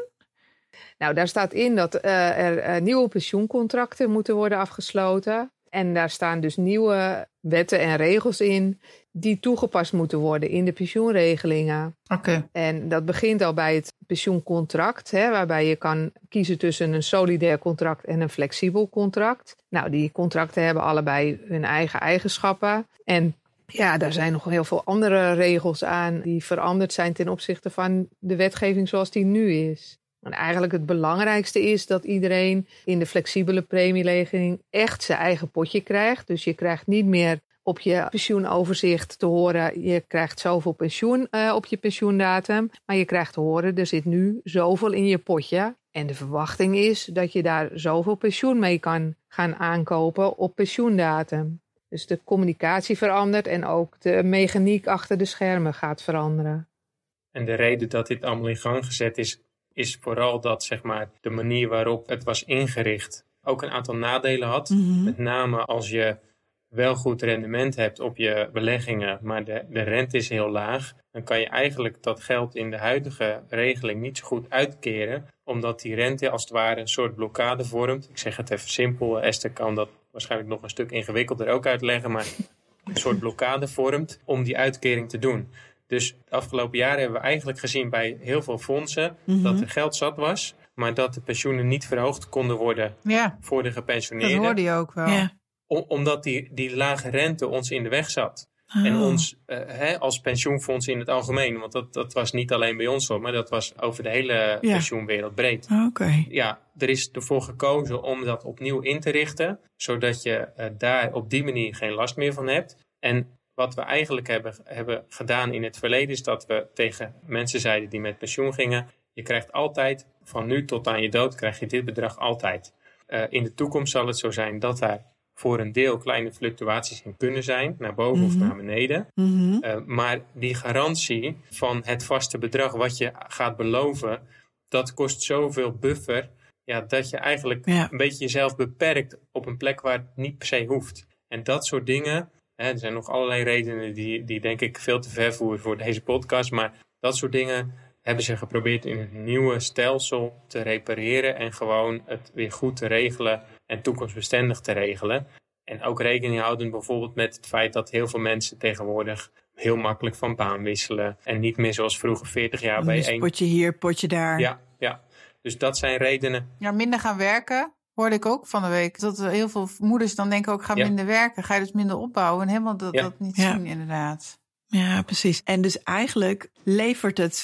Speaker 3: Nou, daar staat in dat eh, er eh, nieuwe pensioencontracten moeten worden afgesloten. En daar staan dus nieuwe wetten en regels in die toegepast moeten worden in de pensioenregelingen.
Speaker 1: oké,
Speaker 3: En dat begint al bij het pensioencontract, hè, waarbij je kan kiezen tussen een solidair contract en een flexibel contract. Nou, die contracten hebben allebei hun eigen eigenschappen. En ja, daar zijn nog heel veel andere regels aan die veranderd zijn ten opzichte van de wetgeving zoals die nu is. En eigenlijk het belangrijkste is dat iedereen in de flexibele premieregeling echt zijn eigen potje krijgt. Dus je krijgt niet meer op je pensioenoverzicht te horen, je krijgt zoveel pensioen eh, op je pensioendatum. Maar je krijgt te horen, er zit nu zoveel in je potje. En de verwachting is dat je daar zoveel pensioen mee kan gaan aankopen op pensioendatum. Dus de communicatie verandert en ook de mechaniek achter de schermen gaat veranderen.
Speaker 4: En de reden dat dit allemaal in gang gezet is, is vooral dat zeg maar, de manier waarop het was ingericht ook een aantal nadelen had.
Speaker 2: Mhm.
Speaker 4: Met name als je wel goed rendement hebt op je beleggingen, maar de, de rente is heel laag, dan kan je eigenlijk dat geld in de huidige regeling niet zo goed uitkeren, omdat die rente als het ware een soort blokkade vormt. Ik zeg het even simpel, Esther kan dat waarschijnlijk nog een stuk ingewikkelder ook uitleggen, maar een soort blokkade vormt om die uitkering te doen. Dus de afgelopen jaren hebben we eigenlijk gezien bij heel veel fondsen
Speaker 2: Mhm.
Speaker 4: dat er geld zat was, maar dat de pensioenen niet verhoogd konden worden
Speaker 1: ja,
Speaker 4: voor de
Speaker 1: dat
Speaker 4: gepensioneerden
Speaker 1: hoorde je ook
Speaker 4: Nou,
Speaker 1: wel.
Speaker 2: Ja.
Speaker 4: om- omdat die, die lage rente ons in de weg zat. En
Speaker 2: Oh.
Speaker 4: ons eh, hè, als pensioenfonds in het algemeen. Want dat, dat was niet alleen bij ons zo, maar dat was over de hele pensioenwereld breed.
Speaker 2: Oké.
Speaker 4: Ja, er is ervoor gekozen om dat opnieuw in te richten. Zodat je eh, daar op die manier geen last meer van hebt. En wat we eigenlijk hebben, hebben gedaan in het verleden is dat we tegen mensen zeiden die met pensioen gingen. Je krijgt altijd, van nu tot aan je dood, krijg je dit bedrag altijd. Eh, in de toekomst zal het zo zijn dat daar voor een deel kleine fluctuaties in kunnen zijn. Naar boven
Speaker 2: Mhm.
Speaker 4: of naar beneden.
Speaker 2: Mhm.
Speaker 4: Eh, maar die garantie van het vaste bedrag wat je gaat beloven, dat kost zoveel buffer. Ja, dat je eigenlijk
Speaker 2: Ja.
Speaker 4: een beetje jezelf beperkt op een plek waar het niet per se hoeft. En dat soort dingen, hè, er zijn nog allerlei redenen die, die denk ik veel te ver voeren voor deze podcast. Maar dat soort dingen hebben ze geprobeerd in het nieuwe stelsel te repareren. En gewoon het weer goed te regelen en toekomstbestendig te regelen. En ook rekening houden bijvoorbeeld met het feit dat heel veel mensen tegenwoordig heel makkelijk van baan wisselen. En niet meer zoals vroeger 40 jaar bij
Speaker 2: Dus
Speaker 4: één.
Speaker 2: potje hier, potje daar.
Speaker 4: Ja, ja. Dus dat zijn redenen.
Speaker 1: Ja, minder gaan werken. Hoorde ik ook van de week. Dat er heel veel moeders dan denken ook, ga
Speaker 4: Ja.
Speaker 1: minder werken. Ga je dus minder opbouwen. En helemaal dat,
Speaker 4: Ja.
Speaker 1: dat niet
Speaker 2: Ja.
Speaker 1: zien inderdaad.
Speaker 2: Ja, precies. En dus eigenlijk levert het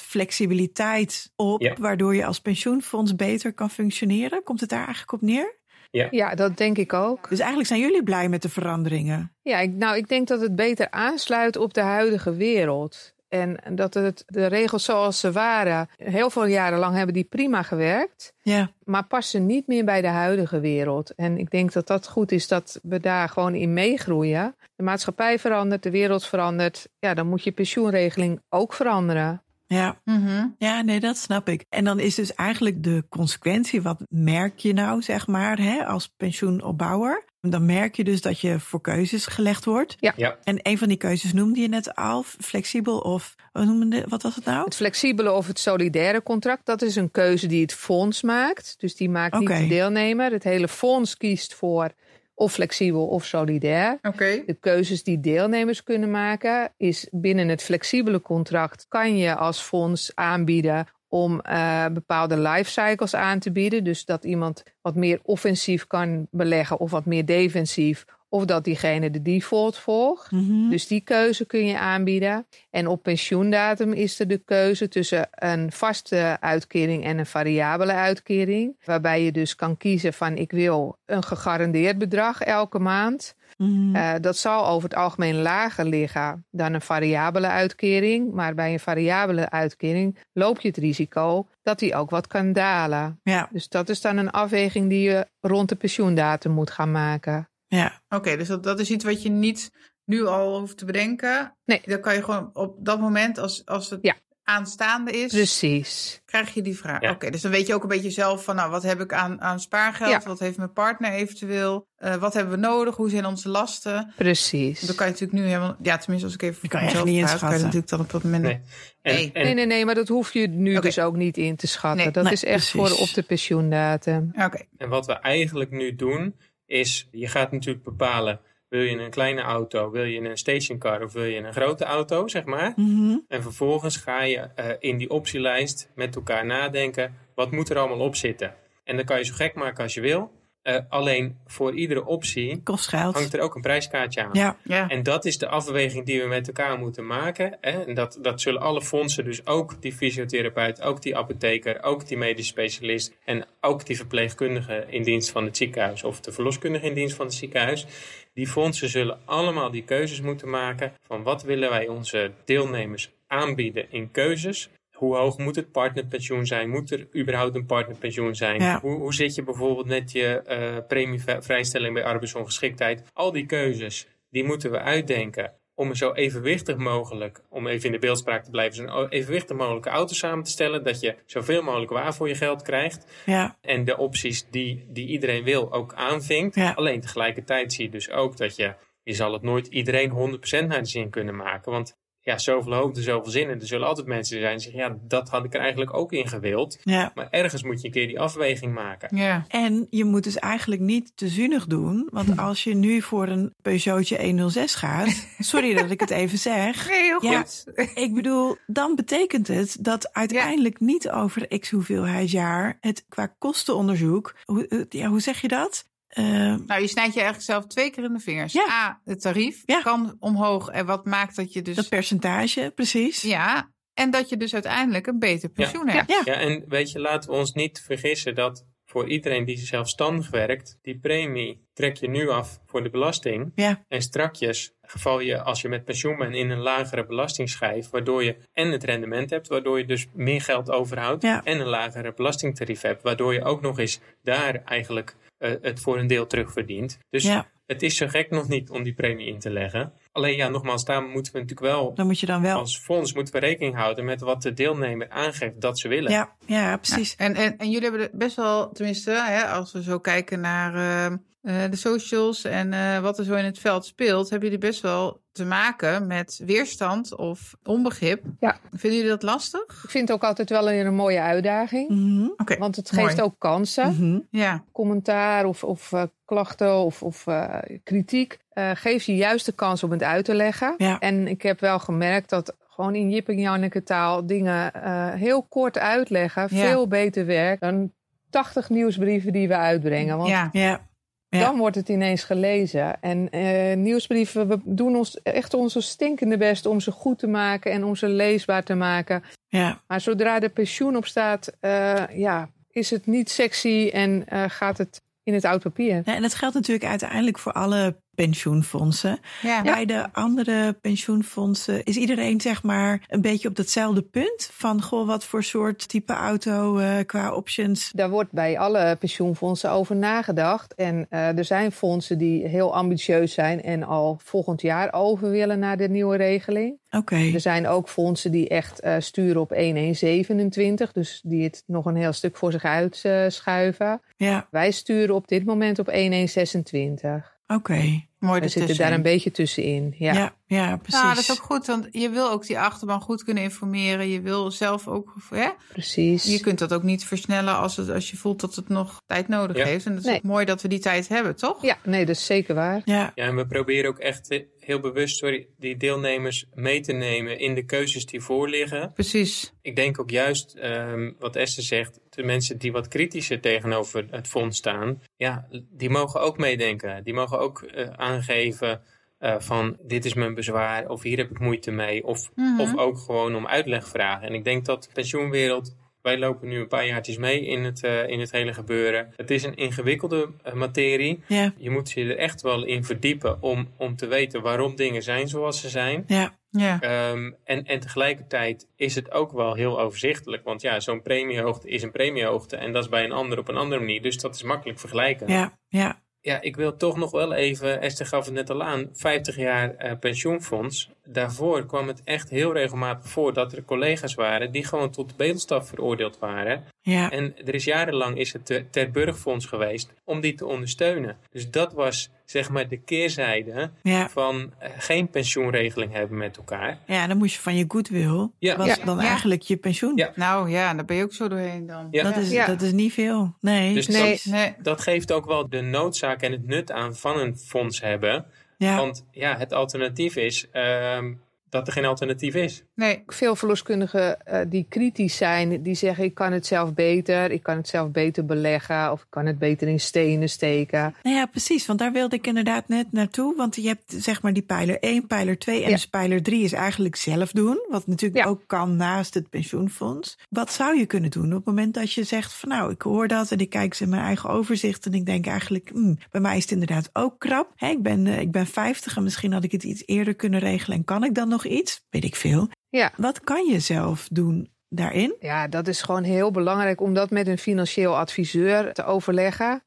Speaker 2: flexibiliteit op,
Speaker 4: Ja.
Speaker 2: waardoor je als pensioenfonds beter kan functioneren. Komt het daar eigenlijk op neer?
Speaker 3: Ja, dat denk ik ook.
Speaker 2: Dus eigenlijk zijn jullie blij met de veranderingen.
Speaker 3: Ja, ik, nou, ik denk dat het beter aansluit op de huidige wereld. En dat het, de regels zoals ze waren, heel veel jaren lang hebben die prima gewerkt,
Speaker 2: Ja,
Speaker 3: maar passen niet meer bij de huidige wereld. En ik denk dat dat goed is dat we daar gewoon in meegroeien. De maatschappij verandert, de wereld verandert. Ja, dan moet je pensioenregeling ook veranderen.
Speaker 2: Ja.
Speaker 1: Mhm.
Speaker 2: ja, nee, dat snap ik. En dan is dus eigenlijk de consequentie, wat merk je nou, zeg maar, hè, als pensioenopbouwer? Dan merk je dus dat je voor keuzes gelegd wordt.
Speaker 3: Ja.
Speaker 4: Ja.
Speaker 2: En een van die keuzes noemde je net al, flexibel of, wat noemde, wat was het nou?
Speaker 3: Het flexibele of het solidaire contract, dat is een keuze die het fonds maakt. Dus die maakt
Speaker 2: Oké.
Speaker 3: niet de deelnemer. Het hele fonds kiest voor of flexibel of solidair.
Speaker 1: Oké.
Speaker 3: De keuzes die deelnemers kunnen maken, is binnen het flexibele contract kan je als fonds aanbieden om eh, bepaalde life cycles aan te bieden. Dus dat iemand wat meer offensief kan beleggen of wat meer defensief. Of dat diegene de default volgt.
Speaker 2: Mhm.
Speaker 3: Dus die keuze kun je aanbieden. En op pensioendatum is er de keuze tussen een vaste uitkering en een variabele uitkering. Waarbij je dus kan kiezen van ik wil een gegarandeerd bedrag elke maand.
Speaker 1: Hm.
Speaker 2: Mhm.
Speaker 3: Eh, dat zal over het algemeen lager liggen dan een variabele uitkering. Maar bij een variabele uitkering loop je het risico dat die ook wat kan dalen.
Speaker 2: ja,
Speaker 3: Dus dat is dan een afweging die je rond de pensioendatum moet gaan maken.
Speaker 2: ja,
Speaker 1: Oké, dus dat, dat is iets wat je niet nu al hoeft te bedenken.
Speaker 3: Nee.
Speaker 1: Dan kan je gewoon op dat moment, als, als het
Speaker 3: Ja.
Speaker 1: aanstaande is,
Speaker 3: Precies.
Speaker 1: krijg je die vraag.
Speaker 4: Ja.
Speaker 1: Oké, dus dan weet je ook een beetje zelf van, nou, wat heb ik aan, aan spaargeld?
Speaker 3: Ja.
Speaker 1: Wat heeft mijn partner eventueel? Eh, wat hebben we nodig? Hoe zijn onze lasten?
Speaker 3: Precies.
Speaker 1: Dat kan je natuurlijk nu helemaal, ja, tenminste als ik even voor
Speaker 2: Je kan je echt
Speaker 1: mezelf
Speaker 2: niet
Speaker 1: praat, kan je dat
Speaker 2: inschatten.
Speaker 1: natuurlijk dan op dat moment.
Speaker 4: Nee. En,
Speaker 1: Nee.
Speaker 4: en
Speaker 3: Nee, nee, nee, maar dat hoef je nu
Speaker 1: Oké.
Speaker 3: dus ook niet in te schatten.
Speaker 1: Nee,
Speaker 3: dat
Speaker 2: nee,
Speaker 3: is echt
Speaker 2: precies.
Speaker 3: voor op de pensioendatum.
Speaker 1: Oké,
Speaker 4: En wat we eigenlijk nu doen, is je gaat natuurlijk bepalen, wil je een kleine auto, wil je een stationcar of wil je een grote auto, zeg maar.
Speaker 2: Mhm.
Speaker 4: En vervolgens ga je eh, in die optielijst met elkaar nadenken, wat moet er allemaal op zitten? En dan kan je zo gek maken als je wil. Eh, alleen voor iedere optie
Speaker 2: kost geld.
Speaker 4: hangt er ook een prijskaartje aan.
Speaker 2: Ja,
Speaker 1: ja.
Speaker 4: En dat is de afweging die we met elkaar moeten maken. Hè? En dat, dat zullen alle fondsen, dus ook die fysiotherapeut, ook die apotheker, ook die medisch specialist en ook die verpleegkundige in dienst van het ziekenhuis of de verloskundige in dienst van het ziekenhuis. Die fondsen zullen allemaal die keuzes moeten maken van wat willen wij onze deelnemers aanbieden in keuzes. Hoe hoog moet het partnerpensioen zijn? Moet er überhaupt een partnerpensioen zijn?
Speaker 2: Ja.
Speaker 4: Hoe, hoe zit je bijvoorbeeld met je eh, premievrijstelling bij arbeidsongeschiktheid? Al die keuzes, die moeten we uitdenken om zo evenwichtig mogelijk, om even in de beeldspraak te blijven, zo'n evenwichtig mogelijke auto samen te stellen. Dat je zoveel mogelijk waar voor je geld krijgt.
Speaker 2: ja,
Speaker 4: En de opties die, die iedereen wil ook aanvinkt.
Speaker 2: Ja.
Speaker 4: Alleen tegelijkertijd zie je dus ook dat je, je zal het nooit iedereen 100% naar de zin kunnen maken. Want ja, zoveel hoop en zoveel zin. En er zullen altijd mensen zijn die zeggen, ja, dat had ik er eigenlijk ook in gewild.
Speaker 2: ja.
Speaker 4: Maar ergens moet je een keer die afweging maken.
Speaker 1: ja.
Speaker 2: En je moet dus eigenlijk niet te zuinig doen. Want als je nu voor een Peugeotje 106 gaat. Sorry dat ik het even zeg.
Speaker 1: Nee, heel
Speaker 2: Ja.
Speaker 1: goed.
Speaker 2: Ik bedoel, dan betekent het dat uiteindelijk niet over x hoeveelheid jaar. het qua kostenonderzoek. Hoe, eh, ja, hoe zeg je dat? Eh,
Speaker 1: Nou, je snijdt je eigenlijk zelf twee keer in de vingers.
Speaker 2: Ja.
Speaker 1: A, het tarief
Speaker 2: Ja.
Speaker 1: kan omhoog. En wat maakt dat je dus...
Speaker 2: dat percentage, precies.
Speaker 1: Ja, en dat je dus uiteindelijk een beter pensioen hebt.
Speaker 2: Ja.
Speaker 4: Ja, en weet je, laten we ons niet vergissen dat voor iedereen die zelfstandig werkt, die premie trek je nu af voor de belasting.
Speaker 2: Ja.
Speaker 4: En strakjes geval je, als je met pensioen bent, in een lagere belastingschijf, waardoor je en het rendement hebt, waardoor je dus meer geld overhoudt,
Speaker 2: Ja.
Speaker 4: en een lagere belastingtarief hebt, waardoor je ook nog eens daar eigenlijk eh, het voor een deel terugverdient. Dus
Speaker 2: Ja.
Speaker 4: het is zo gek nog niet om die premie in te leggen. Alleen ja, nogmaals, daar moeten we natuurlijk wel...
Speaker 2: Dan moet je dan wel.
Speaker 4: Als fonds moeten we rekening houden met wat de deelnemer aangeeft dat ze willen.
Speaker 2: Ja, ja, precies.
Speaker 1: En, en, en jullie hebben er best wel, tenminste, hè, als we zo kijken naar eh, eh, de socials en eh, wat er zo in het veld speelt, hebben jullie best wel te maken met weerstand of onbegrip.
Speaker 3: Ja.
Speaker 1: Vinden jullie dat lastig?
Speaker 3: Ik vind het ook altijd wel weer een mooie uitdaging.
Speaker 2: Mhm,
Speaker 1: Oké.
Speaker 3: Want het geeft
Speaker 1: Mooi.
Speaker 3: ook kansen.
Speaker 2: mhm.
Speaker 1: Ja.
Speaker 3: Commentaar of, of eh, klachten of, of eh, kritiek eh geeft je juist de kans om het uit te leggen.
Speaker 2: Ja.
Speaker 3: En ik heb wel gemerkt dat gewoon in Jip en Janneke taal dingen eh, heel kort uitleggen
Speaker 1: Ja.
Speaker 3: veel beter werkt dan 80 nieuwsbrieven die we uitbrengen. Want
Speaker 1: ja.
Speaker 2: Ja, Ja.
Speaker 3: Dan wordt het ineens gelezen. En eh, nieuwsbrieven, we doen ons echt onze stinkende best om ze goed te maken en om ze leesbaar te maken.
Speaker 2: ja,
Speaker 3: Maar zodra er pensioen op staat, eh, ja, is het niet sexy en eh, gaat het in het oud papier.
Speaker 2: Ja, en dat geldt natuurlijk uiteindelijk voor alle pensioenfondsen.
Speaker 1: Ja.
Speaker 2: Bij de andere pensioenfondsen is iedereen zeg maar een beetje op datzelfde punt. Van goh, wat voor soort type auto eh, qua options.
Speaker 3: Daar wordt bij alle pensioenfondsen over nagedacht. En eh, er zijn fondsen die heel ambitieus zijn en al volgend jaar over willen naar de nieuwe regeling.
Speaker 2: Oké,
Speaker 3: Er zijn ook fondsen die echt eh, sturen op 1127, dus die het nog een heel stuk voor zich uit eh, schuiven.
Speaker 2: ja,
Speaker 3: Wij sturen op dit moment op 1126.
Speaker 1: Oh,
Speaker 2: oké.
Speaker 1: Mooi
Speaker 3: We zitten
Speaker 1: ertussenin.
Speaker 3: daar een beetje tussenin.
Speaker 2: Ja.
Speaker 3: Ja.
Speaker 2: Ja, precies.
Speaker 1: Nou, dat is ook goed, want je wil ook die achterban goed kunnen informeren. Je wil zelf ook, hè?
Speaker 3: precies.
Speaker 1: je kunt dat ook niet versnellen als, het, als je voelt dat het nog tijd nodig
Speaker 4: Ja.
Speaker 1: heeft. En het is
Speaker 3: Nee.
Speaker 1: ook mooi dat we die tijd hebben, toch?
Speaker 3: Ja, nee, dat is zeker waar.
Speaker 2: Ja,
Speaker 4: Ja, en we proberen ook echt eh, heel bewust sorry, die deelnemers mee te nemen in de keuzes die voorliggen.
Speaker 1: Precies.
Speaker 4: Ik denk ook juist ehm, wat Esther zegt, de mensen die wat kritischer tegenover het fonds staan, ja, die mogen ook meedenken. Die mogen ook eh, aangeven eh, van dit is mijn bezwaar of hier heb ik moeite mee. Of,
Speaker 1: Mhm.
Speaker 4: of ook gewoon om uitleg vragen. En ik denk dat de pensioenwereld, wij lopen nu een paar jaartjes mee in het, eh, in het hele gebeuren. Het is een ingewikkelde eh, materie.
Speaker 2: ja,
Speaker 4: Je moet je er echt wel in verdiepen om, om te weten waarom dingen zijn zoals ze zijn.
Speaker 2: ja,
Speaker 1: Ja.
Speaker 4: Ehm, en, en tegelijkertijd is het ook wel heel overzichtelijk. Want ja, zo'n premiehoogte is een premiehoogte. En dat is bij een ander op een andere manier. Dus dat is makkelijk vergelijken.
Speaker 2: ja, ja.
Speaker 4: Ja, ik wil toch nog wel even, Esther gaf het net al aan, 50 jaar eh, pensioenfonds. Daarvoor kwam het echt heel regelmatig voor dat er collega's waren die gewoon tot de bedelstaf veroordeeld waren.
Speaker 2: ja.
Speaker 4: En er is jarenlang is het eh, Ter Burgfonds geweest om die te ondersteunen. Dus dat was zeg maar de keerzijde
Speaker 2: ja.
Speaker 4: van eh, geen pensioenregeling hebben met elkaar.
Speaker 2: Ja, dan moest je van je goodwill.
Speaker 4: Ja.
Speaker 2: was
Speaker 4: Ja.
Speaker 2: dan
Speaker 1: Ja.
Speaker 2: eigenlijk je pensioen.
Speaker 4: Ja.
Speaker 1: Nou ja, daar ben je ook zo doorheen dan.
Speaker 4: Ja.
Speaker 2: Dat, is,
Speaker 3: Ja.
Speaker 2: dat is niet veel. Nee.
Speaker 4: Dus
Speaker 3: Nee.
Speaker 4: dat,
Speaker 1: Nee.
Speaker 4: dat geeft ook wel de noodzaak en het nut aan van een fonds hebben.
Speaker 2: ja.
Speaker 4: Want ja, het alternatief is ehm, dat er geen alternatief is.
Speaker 1: Nee.
Speaker 3: Ook Veel verloskundigen eh, die kritisch zijn, die zeggen ik kan het zelf beter, ik kan het zelf beter beleggen of ik kan het beter in stenen steken.
Speaker 2: Nou ja, precies. Want daar wilde ik inderdaad net naartoe. Want je hebt zeg maar die pijler 1, pijler 2 en
Speaker 3: Ja.
Speaker 2: dus pijler 3 is eigenlijk zelf doen. Wat natuurlijk
Speaker 3: Ja.
Speaker 2: ook kan naast het pensioenfonds. Wat zou je kunnen doen op het moment dat je zegt van nou, ik hoor dat en ik kijk eens in mijn eigen overzicht en ik denk eigenlijk, hmm, bij mij is het inderdaad ook krap. Hè, ik, ben, eh, ik ben 50 en misschien had ik het iets eerder kunnen regelen en kan ik dan nog iets? Weet ik veel.
Speaker 3: Ja.
Speaker 2: Wat kan je zelf doen daarin?
Speaker 3: Ja, dat is gewoon heel belangrijk om dat met een financieel adviseur te overleggen.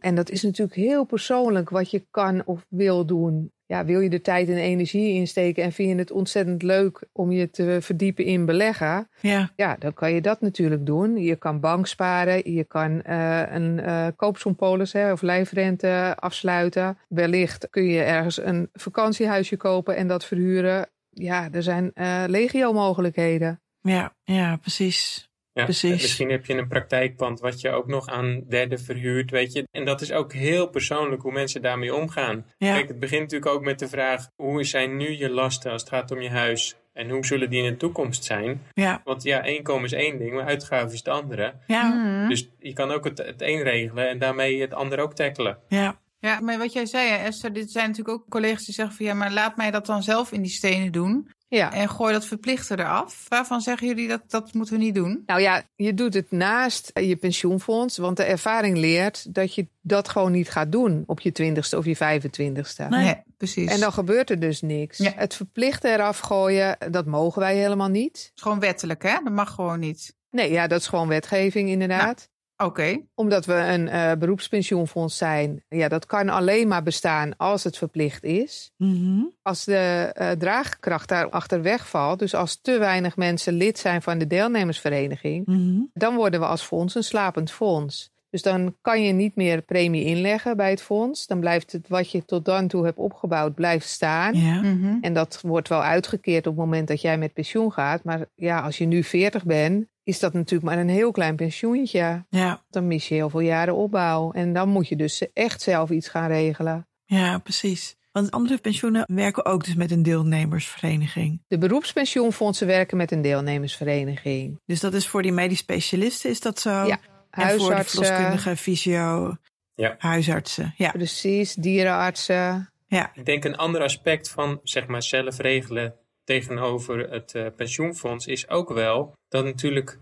Speaker 3: En dat is natuurlijk heel persoonlijk wat je kan of wil doen. Ja, wil je er tijd en energie in steken en vind je het ontzettend leuk om je te verdiepen in beleggen?
Speaker 2: Ja,
Speaker 3: Ja, dan kan je dat natuurlijk doen. Je kan bank sparen, je kan eh, een eh koopsompolis hè, of lijfrente afsluiten. Wellicht kun je ergens een vakantiehuisje kopen en dat verhuren. Ja, er zijn eh, legio mogelijkheden.
Speaker 2: ja, ja, precies.
Speaker 4: Ja,
Speaker 2: Precies.
Speaker 4: en Misschien heb je een praktijkpand wat je ook nog aan derden verhuurt, weet je. En dat is ook heel persoonlijk hoe mensen daarmee omgaan.
Speaker 2: Ja.
Speaker 4: Kijk, het begint natuurlijk ook met de vraag, hoe zijn nu je lasten als het gaat om je huis? En hoe zullen die in de toekomst zijn?
Speaker 2: Ja,
Speaker 4: Want ja, inkomen is één ding, maar uitgaven is het andere.
Speaker 2: ja,
Speaker 3: Mm.
Speaker 1: Mhm.
Speaker 4: Dus je kan ook het, het een regelen en daarmee het ander ook tackelen.
Speaker 2: ja.
Speaker 1: Ja, maar wat jij zei, hè, Esther, dit zijn natuurlijk ook collega's die zeggen van ja, maar laat mij dat dan zelf in die stenen doen.
Speaker 3: Ja.
Speaker 1: En gooi dat verplichte eraf. Waarvan zeggen jullie dat dat moeten we niet doen?
Speaker 3: Nou ja, je doet het naast je pensioenfonds, want de ervaring leert dat je dat gewoon niet gaat doen op je twintigste of je vijfentwintigste.
Speaker 2: Nee.
Speaker 1: precies.
Speaker 3: En dan gebeurt er dus niks.
Speaker 1: Ja.
Speaker 3: Het verplicht eraf gooien, dat mogen wij helemaal niet.
Speaker 1: is gewoon wettelijk, hè? Dat mag gewoon niet.
Speaker 3: Nee, ja, dat is gewoon wetgeving inderdaad.
Speaker 1: Oké.
Speaker 3: Omdat we een eh, beroepspensioenfonds zijn, ja, dat kan alleen maar bestaan als het verplicht is.
Speaker 2: Mhm.
Speaker 3: Als de eh, draagkracht daarachter wegvalt, dus als te weinig mensen lid zijn van de deelnemersvereniging,
Speaker 2: Mhm.
Speaker 3: dan worden we als fonds een slapend fonds. Dus dan kan je niet meer premie inleggen bij het fonds. Dan blijft het wat je tot dan toe hebt opgebouwd, blijft staan.
Speaker 2: Ja.
Speaker 1: Mhm.
Speaker 3: En dat wordt wel uitgekeerd op het moment dat jij met pensioen gaat. Maar ja, als je nu 40 bent, is dat natuurlijk maar een heel klein pensioentje.
Speaker 2: Ja,
Speaker 3: Dan mis je heel veel jaren opbouw. En dan moet je dus echt zelf iets gaan regelen.
Speaker 2: ja, precies. Want andere pensioenen werken ook dus met een deelnemersvereniging.
Speaker 3: De beroepspensioenfondsen werken met een deelnemersvereniging.
Speaker 2: Dus dat is voor die medisch specialisten is dat zo.
Speaker 3: Ja,
Speaker 2: en voor de
Speaker 3: Huisartsen,
Speaker 2: verloskundige, fysio,
Speaker 4: Ja.
Speaker 2: huisartsen. Ja,
Speaker 3: precies, dierenartsen.
Speaker 2: ja,
Speaker 4: Ik denk een ander aspect van zeg maar zelf regelen tegenover het eh, pensioenfonds is ook wel dat natuurlijk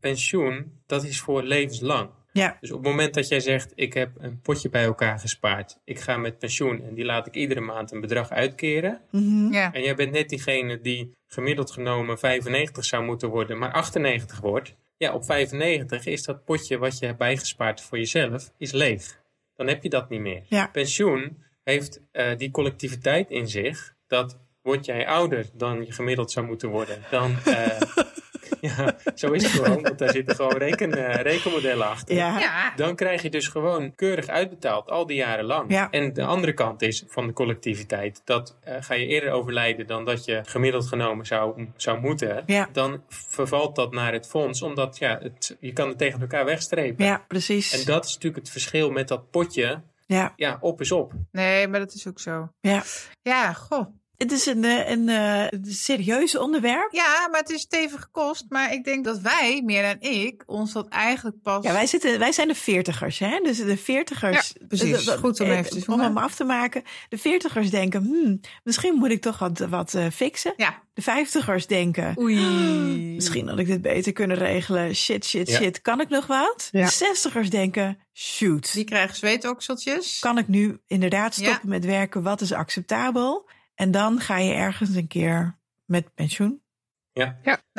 Speaker 4: pensioen dat is voor levenslang.
Speaker 2: Ja.
Speaker 4: Dus op het moment dat jij zegt, ik heb een potje bij elkaar gespaard, ik ga met pensioen en die laat ik iedere maand een bedrag uitkeren.
Speaker 2: Mhm.
Speaker 1: Ja.
Speaker 4: En jij bent net diegene die gemiddeld genomen 95 zou moeten worden, maar 98 wordt. Ja, op 95 is dat potje wat je hebt bijgespaard voor jezelf, is leeg. Dan heb je dat niet meer.
Speaker 2: Ja.
Speaker 4: Pensioen heeft eh, die collectiviteit in zich dat word jij ouder dan je gemiddeld zou moeten worden. Dan, eh, ja, zo is het gewoon, want daar zitten gewoon reken, eh, rekenmodellen achter.
Speaker 2: Ja.
Speaker 1: Ja.
Speaker 4: Dan krijg je dus gewoon keurig uitbetaald, al die jaren lang.
Speaker 2: Ja.
Speaker 4: En de andere kant is van de collectiviteit. Dat eh, ga je eerder overlijden dan dat je gemiddeld genomen zou, zou moeten.
Speaker 2: Ja.
Speaker 4: Dan vervalt dat naar het fonds, omdat ja, het, je kan het tegen elkaar wegstrepen.
Speaker 2: Ja, precies.
Speaker 4: En dat is natuurlijk het verschil met dat potje.
Speaker 2: Ja,
Speaker 4: Ja, op is op.
Speaker 1: Nee, maar dat is ook zo.
Speaker 2: ja.
Speaker 1: Ja, goh.
Speaker 2: Het is een, eh, een eh, serieus onderwerp.
Speaker 1: Ja, maar het is stevig kost. Maar ik denk dat wij, meer dan ik, ons dat eigenlijk pas...
Speaker 2: Ja, wij, zitten, wij zijn de veertigers, hè? Dus de veertigers...
Speaker 1: Ja, precies.
Speaker 2: eh, dat-
Speaker 1: Goed om
Speaker 2: eh,
Speaker 1: even te
Speaker 2: Om
Speaker 1: noemen.
Speaker 2: hem af te maken. De veertigers denken, hmm, misschien moet ik toch wat, wat eh, fixen.
Speaker 1: Ja.
Speaker 2: De vijftigers denken,
Speaker 1: Oei.
Speaker 2: *gasps* misschien had ik dit beter kunnen regelen. Shit, shit,
Speaker 4: Ja.
Speaker 2: shit. Kan ik nog wat?
Speaker 3: Ja.
Speaker 2: De zestigers denken,
Speaker 1: *gasps*
Speaker 2: shoot.
Speaker 1: Die krijgen zweetokseltjes.
Speaker 2: Kan ik nu inderdaad
Speaker 1: Ja.
Speaker 2: stoppen met werken? Wat is acceptabel? En dan ga je ergens een keer met pensioen.
Speaker 1: Nou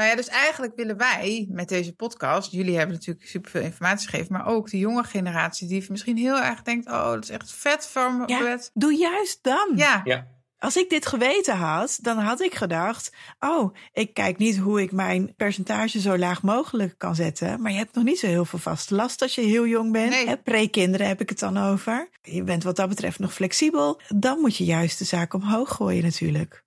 Speaker 1: ja, dus eigenlijk willen wij met deze podcast, jullie hebben natuurlijk superveel informatie gegeven, maar ook de jonge generatie die misschien heel erg denkt, oh, dat is echt vet van me.
Speaker 2: Ja.
Speaker 1: vet.
Speaker 2: Doe juist dan.
Speaker 1: Ja.
Speaker 4: Ja,
Speaker 2: Als ik dit geweten had, dan had ik gedacht: oh, ik kijk niet hoe ik mijn percentage zo laag mogelijk kan zetten. Maar je hebt nog niet zo heel veel vaste last als je heel jong bent.
Speaker 1: Nee.
Speaker 2: Hè, Pre-kinderen heb ik het dan over. Je bent wat dat betreft nog flexibel. Dan moet je juist de zaak omhoog gooien, natuurlijk.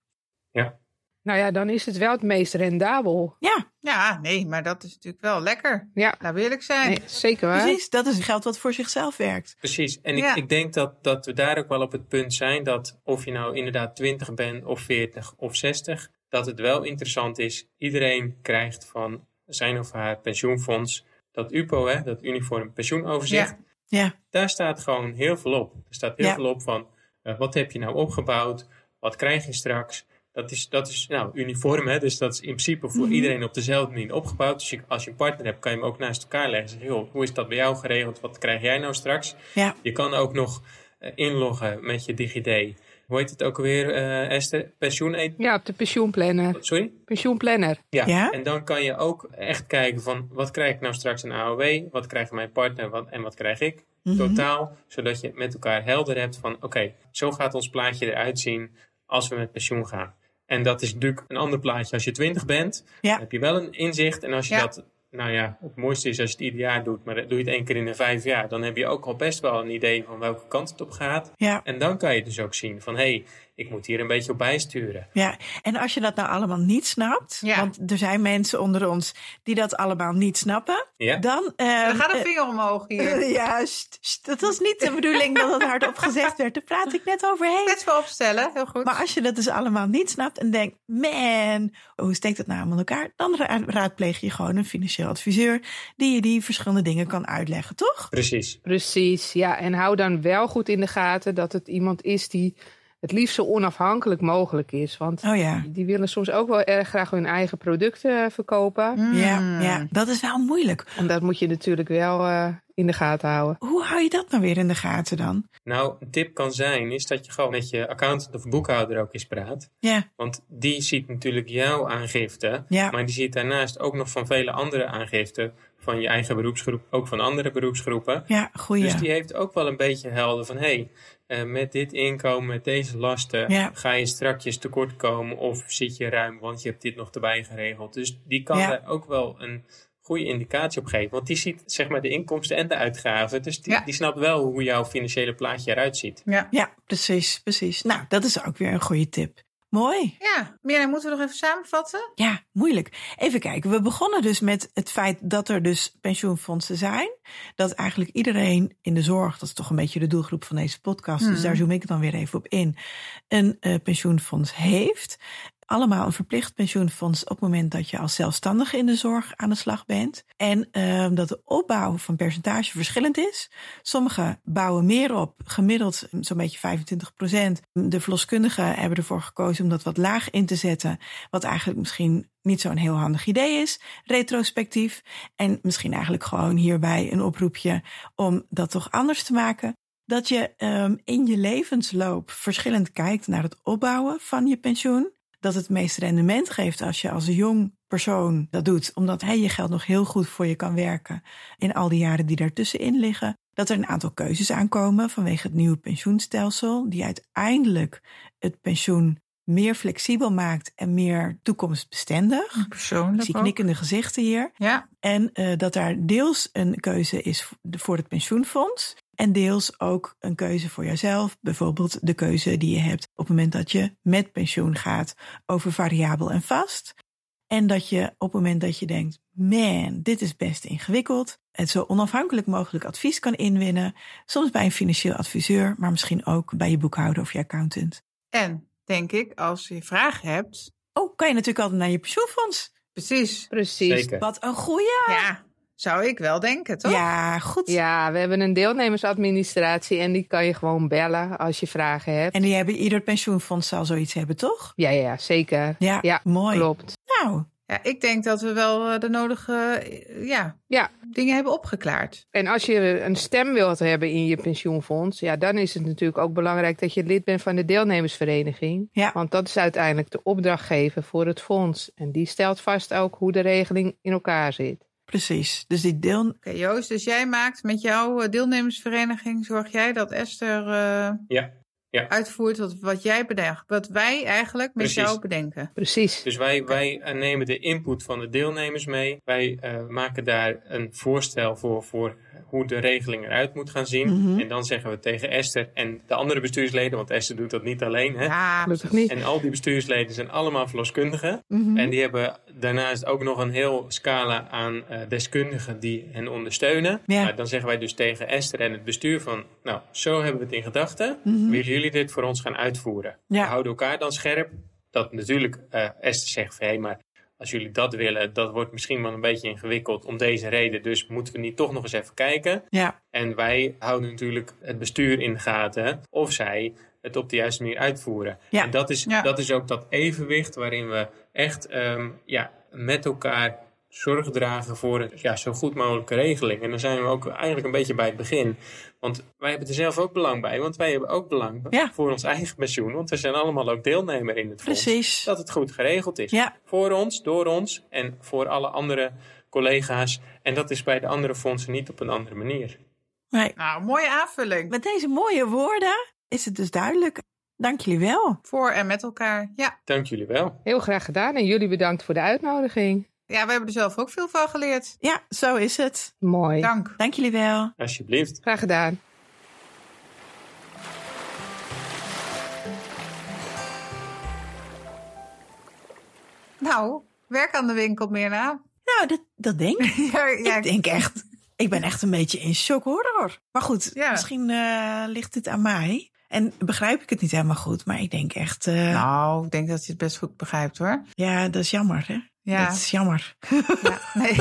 Speaker 3: Nou ja, dan is het wel het meest rendabel.
Speaker 2: Ja,
Speaker 1: ja, nee, maar dat is natuurlijk wel lekker.
Speaker 3: Ja,
Speaker 1: Laten we eerlijk zijn.
Speaker 3: nee, zeker waar.
Speaker 2: precies. Dat is geld wat voor zichzelf werkt.
Speaker 4: precies. En
Speaker 1: Ja.
Speaker 4: ik, ik denk dat, dat we daar ook wel op het punt zijn dat of je nou inderdaad 20 bent of 40 of 60, dat het wel interessant is. Iedereen krijgt van zijn of haar pensioenfonds dat UPO, hè, dat uniform pensioenoverzicht.
Speaker 1: Ja.
Speaker 2: Ja,
Speaker 4: Daar staat gewoon heel veel op. Er staat heel
Speaker 2: Ja.
Speaker 4: veel op van eh, wat heb je nou opgebouwd, wat krijg je straks. Dat is, dat is nou, uniform, hè? dus dat is in principe
Speaker 1: Mhm.
Speaker 4: voor iedereen op dezelfde manier opgebouwd. Dus je- als je een partner hebt, kan je hem ook naast elkaar leggen. Zeg, joh, hoe is dat bij jou geregeld? Wat krijg jij nou straks?
Speaker 2: ja.
Speaker 4: Je kan ook nog eh, inloggen met je DigiD. Hoe heet het ook alweer, eh, Esther? Pensioen eet-
Speaker 3: Ja, op de pensioenplanner.
Speaker 4: Sorry?
Speaker 3: Pensioenplanner.
Speaker 4: Ja.
Speaker 2: Ja?
Speaker 4: En dan kan je ook echt kijken van wat krijg ik nou straks een AOW? Wat krijgt mijn partner wat, en wat krijg ik?
Speaker 2: Mhm.
Speaker 4: Totaal, zodat je met elkaar helder hebt van oké, zo gaat ons plaatje eruit zien als we met pensioen gaan. En dat is natuurlijk een ander plaatje als je 20 bent.
Speaker 2: Ja.
Speaker 4: Dan heb je wel een inzicht. En als je
Speaker 1: Ja.
Speaker 4: dat, nou ja, het mooiste is als je het ieder jaar doet, maar doe je het één keer in de vijf jaar, dan heb je ook al best wel een idee van welke kant het op gaat.
Speaker 2: Ja,
Speaker 4: En dan kan je dus ook zien van hé, hey, ik moet hier een beetje op bijsturen.
Speaker 2: ja, en als je dat nou allemaal niet snapt,
Speaker 1: Ja.
Speaker 2: want er zijn mensen onder ons die dat allemaal niet snappen,
Speaker 4: Ja?
Speaker 2: dan. eh,
Speaker 1: Er gaat
Speaker 2: eh,
Speaker 1: een vinger omhoog hier.
Speaker 2: Eh, *laughs* Ja, sst, sst, dat was niet de bedoeling dat het hardop gezegd werd. Daar praat ik net overheen.
Speaker 1: Best wel opstellen, heel goed.
Speaker 2: Maar als je dat dus allemaal niet snapt en denkt, man, hoe steekt dat nou allemaal in elkaar? Dan ra- raadpleeg je gewoon een financieel adviseur die je die verschillende dingen kan uitleggen, toch?
Speaker 4: Precies.
Speaker 3: Precies, ja. En hou dan wel goed in de gaten dat het iemand is die het liefst zo onafhankelijk mogelijk is. Want
Speaker 2: Oh ja.
Speaker 3: die willen soms ook wel erg graag hun eigen producten eh, verkopen.
Speaker 1: Mm.
Speaker 2: Ja, ja, dat is wel moeilijk.
Speaker 3: En dat moet je natuurlijk wel eh, in de gaten houden.
Speaker 2: Hoe hou je dat nou weer in de gaten dan?
Speaker 4: Nou, een tip kan zijn is dat je gewoon met je accountant of boekhouder ook eens praat.
Speaker 2: Ja,
Speaker 4: Want die ziet natuurlijk jouw aangifte,
Speaker 2: Ja.
Speaker 4: maar die ziet daarnaast ook nog van vele andere aangiften van je eigen beroepsgroep, ook van andere beroepsgroepen.
Speaker 2: ja, goeie.
Speaker 4: Dus die heeft ook wel een beetje helder van, hé, hey, eh, met dit inkomen, met deze lasten,
Speaker 2: Ja.
Speaker 4: ga je strakjes tekort komen of zit je ruim, want je hebt dit nog erbij geregeld. Dus die kan
Speaker 2: Ja.
Speaker 4: daar ook wel een goede indicatie op geven, want die ziet zeg maar de inkomsten en de uitgaven. Dus die,
Speaker 1: Ja.
Speaker 4: die snapt wel hoe jouw financiële plaatje eruit ziet.
Speaker 1: Ja.
Speaker 2: Ja, precies, precies. Nou, dat is ook weer een goede tip. Mooi.
Speaker 1: Ja, meer dan moeten we nog even samenvatten.
Speaker 2: Ja, moeilijk. Even kijken. We begonnen dus met het feit dat er dus pensioenfondsen zijn. Dat eigenlijk iedereen in de zorg, dat is toch een beetje de doelgroep van deze podcast,
Speaker 1: Mhm.
Speaker 2: dus daar zoom ik dan weer even op in, een eh, pensioenfonds heeft. allemaal een verplicht pensioenfonds op het moment dat je als zelfstandige in de zorg aan de slag bent. En ehm, dat de opbouw van percentage verschillend is. Sommigen bouwen meer op, gemiddeld zo'n beetje 25 De verloskundigen hebben ervoor gekozen om dat wat laag in te zetten, wat eigenlijk misschien niet zo'n heel handig idee is, retrospectief. En misschien eigenlijk gewoon hierbij een oproepje om dat toch anders te maken dat je ehm, in je levensloop verschillend kijkt naar het opbouwen van je pensioen. Dat het meest rendement geeft als je als jong persoon dat doet, omdat hij je geld nog heel goed voor je kan werken in al die jaren die daartussenin liggen. Dat er een aantal keuzes aankomen vanwege het nieuwe pensioenstelsel, die uiteindelijk het pensioen meer flexibel maakt en meer toekomstbestendig. Ik zie
Speaker 1: Persoonlijk ook.
Speaker 2: knikkende gezichten hier.
Speaker 1: Ja,
Speaker 2: En eh, dat daar deels een keuze is v- voor het pensioenfonds. En deels ook een keuze voor jezelf. Bijvoorbeeld de keuze die je hebt op het moment dat je met pensioen gaat over variabel en vast. En dat je op het moment dat je denkt, man, dit is best ingewikkeld. Het zo onafhankelijk mogelijk advies kan inwinnen. Soms bij een financieel adviseur, maar misschien ook bij je boekhouder of je accountant.
Speaker 1: en denk ik, als je vragen hebt.
Speaker 2: Oh, kan je natuurlijk altijd naar je pensioenfonds.
Speaker 1: Precies.
Speaker 3: Precies.
Speaker 4: Zeker.
Speaker 2: Wat een goeie!
Speaker 1: Ja, zou ik wel denken, toch?
Speaker 2: Ja, goed.
Speaker 3: Ja, we hebben een deelnemersadministratie en die kan je gewoon bellen als je vragen hebt.
Speaker 2: En die hebben ieder pensioenfonds zal zoiets hebben, toch?
Speaker 3: Ja, ja, zeker.
Speaker 2: Ja,
Speaker 3: Ja,
Speaker 2: mooi.
Speaker 3: Klopt.
Speaker 2: Nou,
Speaker 1: Ja, ik denk dat we wel eh, de nodige eh, ja,
Speaker 3: Ja.
Speaker 1: dingen hebben opgeklaard.
Speaker 3: En als je een stem wilt hebben in je pensioenfonds, ja, dan is het natuurlijk ook belangrijk dat je lid bent van de deelnemersvereniging.
Speaker 2: Ja.
Speaker 3: Want dat is uiteindelijk de opdrachtgever voor het fonds. En die stelt vast ook hoe de regeling in elkaar zit.
Speaker 2: precies. Dus die deel.
Speaker 1: Oké, Joost, dus jij maakt met jouw eh, deelnemersvereniging, zorg jij dat Esther eh,
Speaker 4: Ja, ja.
Speaker 1: uitvoert wat, wat jij bedenkt. Wat wij eigenlijk met
Speaker 4: Precies.
Speaker 1: jou bedenken.
Speaker 3: Precies.
Speaker 4: Dus wij, wij eh, nemen de input van de deelnemers mee. Wij eh, maken daar een voorstel voor, voor hoe de regeling eruit moet gaan zien.
Speaker 2: Mhm.
Speaker 4: En dan zeggen we tegen Esther en de andere bestuursleden, want Esther doet dat niet alleen. Hè?
Speaker 1: Ja,
Speaker 3: Gelukkig niet.
Speaker 4: En al die bestuursleden zijn allemaal verloskundigen.
Speaker 2: Mhm.
Speaker 4: En die hebben daarnaast ook nog een heel scala aan eh, deskundigen die hen ondersteunen.
Speaker 2: Ja.
Speaker 4: Maar dan zeggen wij dus tegen Esther en het bestuur van... nou, zo hebben we het in gedachten.
Speaker 2: Mhm.
Speaker 4: Willen jullie dit voor ons gaan uitvoeren?
Speaker 2: Ja.
Speaker 4: We houden elkaar dan scherp. Dat natuurlijk eh, Esther zegt van... hé, maar als jullie dat willen, dat wordt misschien wel een beetje ingewikkeld... om deze reden, dus moeten we niet toch nog eens even kijken.
Speaker 2: Ja,
Speaker 4: En wij houden natuurlijk het bestuur in de gaten of zij het op de juiste manier uitvoeren.
Speaker 2: Ja.
Speaker 4: En dat is,
Speaker 1: Ja.
Speaker 4: dat is ook dat evenwicht waarin we echt ehm, ja, met elkaar zorg dragen voor een ja, zo goed mogelijke regeling. En dan zijn we ook eigenlijk een beetje bij het begin. Want wij hebben er zelf ook belang bij. Want wij hebben ook belang b-
Speaker 2: Ja.
Speaker 4: voor ons eigen pensioen. Want we zijn allemaal ook deelnemer in het fonds.
Speaker 2: precies.
Speaker 4: Dat het goed geregeld is.
Speaker 2: Ja,
Speaker 4: Voor ons, door ons en voor alle andere collega's. En dat is bij de andere fondsen niet op een andere manier.
Speaker 2: nee.
Speaker 1: nou, mooie aanvulling.
Speaker 2: Met deze mooie woorden is het dus duidelijk. Dank jullie wel.
Speaker 1: Voor en met elkaar. Ja.
Speaker 4: Dank jullie wel.
Speaker 3: Heel graag gedaan en jullie bedankt voor de uitnodiging.
Speaker 1: ja, we hebben er zelf ook veel van geleerd.
Speaker 2: Ja, zo is het.
Speaker 3: Mooi.
Speaker 1: Dank.
Speaker 2: Dank jullie wel.
Speaker 4: Alsjeblieft.
Speaker 3: Graag gedaan.
Speaker 1: Nou, werk aan de winkel, Mirna. *laughs*
Speaker 2: Nou, dat, dat denk ik.
Speaker 1: Ja, ja,
Speaker 2: Ik denk echt. Ik ben echt een beetje in shock hoor. hoor. Maar goed,
Speaker 1: Ja.
Speaker 2: misschien eh, ligt dit aan mij. En begrijp ik het niet helemaal goed, maar ik denk echt, eh,
Speaker 1: Nou, ik denk dat je het best goed begrijpt hoor.
Speaker 2: ja, dat is jammer. Hè?
Speaker 1: Ja,
Speaker 2: Dat is jammer.
Speaker 1: ja.
Speaker 2: *laughs*
Speaker 1: Nee.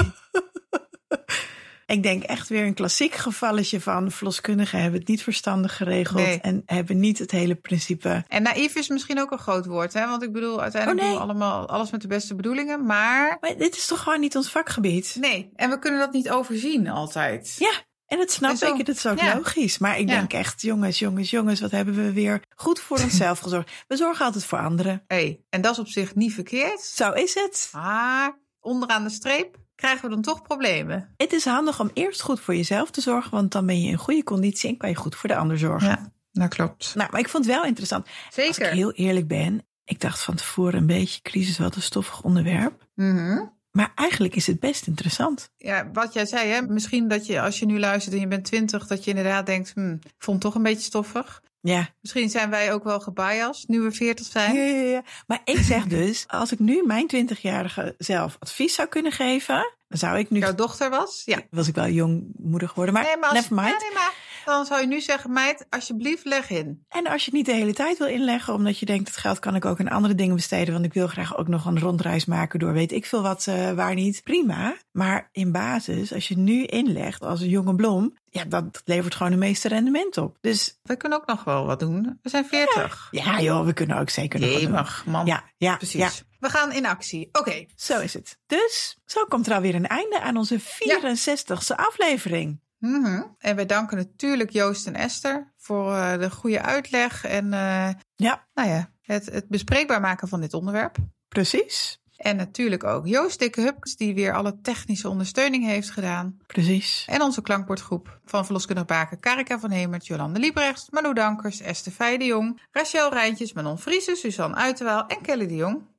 Speaker 2: Ik denk echt weer een klassiek gevalletje van verloskundigen hebben het niet verstandig geregeld
Speaker 1: Nee.
Speaker 2: en hebben niet het hele principe.
Speaker 1: En naïef is misschien ook een groot woord, hè? Want ik bedoel, uiteindelijk
Speaker 2: Oh, nee.
Speaker 1: doen we allemaal alles met de beste bedoelingen, maar
Speaker 2: Maar dit is toch gewoon niet ons vakgebied?
Speaker 1: nee. En we kunnen dat niet overzien altijd.
Speaker 2: Ja, en dat snap
Speaker 1: En zo.
Speaker 2: ik. en Dat is ook
Speaker 1: Ja.
Speaker 2: logisch. Maar ik
Speaker 1: Ja.
Speaker 2: denk echt, jongens, jongens, jongens, wat hebben we weer goed
Speaker 1: *laughs*
Speaker 2: voor onszelf gezorgd? We zorgen altijd voor anderen.
Speaker 1: Hey, en dat is op zich niet verkeerd.
Speaker 2: Zo is het.
Speaker 1: Maar onderaan de streep krijgen we dan toch problemen.
Speaker 2: Het is handig om eerst goed voor jezelf te zorgen, want dan ben je in goede conditie en kan je goed voor de ander zorgen.
Speaker 1: Ja, dat klopt.
Speaker 2: Nou, maar ik vond het wel interessant. Oh. Als ik
Speaker 1: Zeker.
Speaker 2: heel eerlijk ben, ik dacht van tevoren een beetje crisis, wat een stoffig onderwerp.
Speaker 1: Mhm.
Speaker 2: Maar eigenlijk is het best interessant.
Speaker 1: Ja, wat jij zei, hmm, hè? misschien dat je als je nu luistert en je bent twintig, dat je inderdaad denkt, hm, ik vond het toch een beetje stoffig.
Speaker 2: Ja.
Speaker 1: Misschien zijn wij ook wel gebiased nu we 40
Speaker 2: Ja,
Speaker 1: zijn.
Speaker 2: ja, ja. Maar ik
Speaker 1: *laughs*
Speaker 2: zeg dus, als ik nu mijn 20-jarige zelf advies zou kunnen geven, dan zou ik nu.
Speaker 1: Jouw dochter was? Ja.
Speaker 2: Was ik wel jong moeder geworden, maar,
Speaker 1: nee, maar als,
Speaker 2: never mind.
Speaker 1: Ja, nee, maar dan zou je nu zeggen, meid, alsjeblieft leg in.
Speaker 2: En als je het niet de hele tijd wil inleggen, omdat je denkt, het geld kan ik ook aan andere dingen besteden, want ik wil graag ook nog een rondreis maken door weet ik veel wat, eh, waar niet, prima. Maar in basis, als je nu inlegt als een jonge blom, ja, dat, dat levert gewoon de meeste rendement op. Dus
Speaker 1: We kunnen ook nog wel wat doen. We zijn 40.
Speaker 2: ja joh, we kunnen ook zeker nog wat
Speaker 1: Jee,
Speaker 2: doen.
Speaker 1: mag, man.
Speaker 2: Ja, ja,
Speaker 1: Precies.
Speaker 2: ja,
Speaker 1: We gaan in actie. Oké.
Speaker 2: zo is het. Dus, zo komt er alweer een einde aan onze 64ste aflevering.
Speaker 1: Mhm. En wij danken natuurlijk Joost en Esther voor eh, de goede uitleg en eh,
Speaker 2: Ja,
Speaker 1: nou ja, het, het bespreekbaar maken van dit onderwerp.
Speaker 2: precies,
Speaker 1: En natuurlijk ook Joost Dikke Hupkes, die weer alle technische ondersteuning heeft gedaan.
Speaker 2: precies.
Speaker 1: En onze klankbordgroep van verloskundig baken Karika van Hemert, Jolande Liebrechts, Manu Dankers, Esther Feij de Jong, Rachel Rijntjes, Manon Vriezen, Suzanne Uiterwaal en Kelly de Jong.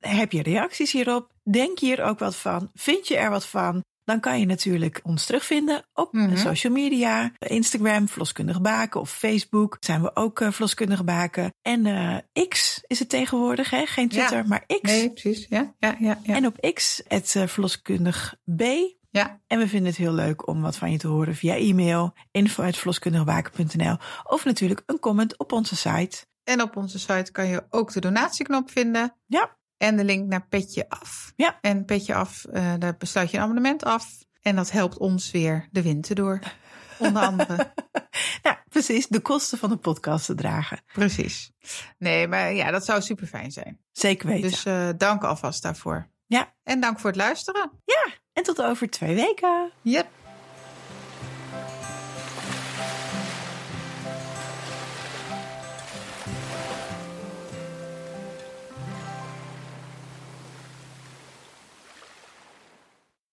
Speaker 2: Heb je reacties hierop? Denk je hier ook wat van? Vind je er wat van? Dan kan je natuurlijk ons terugvinden op
Speaker 1: Mhm.
Speaker 2: social media. Instagram, Vloskundige Baken of Facebook zijn we ook eh Vloskundige Baken. En eh, X is het tegenwoordig, hè? geen Twitter, maar X.
Speaker 1: precies. Ja, ja, ja. ja.
Speaker 2: En op X, het eh, Verloskundig B.
Speaker 1: Ja.
Speaker 2: En we vinden het heel leuk om wat van je te horen via e-mail, info.verloskundigebaken.nl of natuurlijk een comment op onze site.
Speaker 1: En op onze site kan je ook de donatieknop vinden.
Speaker 2: Ja.
Speaker 1: En de link naar Petje Af.
Speaker 2: Ja.
Speaker 1: En Petje Af, eh, daar besluit je een abonnement af. En dat helpt ons weer de winter door. Onder
Speaker 2: *laughs*
Speaker 1: andere.
Speaker 2: Nou, precies, de kosten van de podcast te dragen.
Speaker 1: Precies. Nee, maar ja, dat zou super fijn zijn.
Speaker 2: Zeker weten.
Speaker 1: Dus eh, dank alvast daarvoor.
Speaker 2: Ja.
Speaker 1: En dank voor het luisteren.
Speaker 2: En tot over twee weken.
Speaker 1: Yep.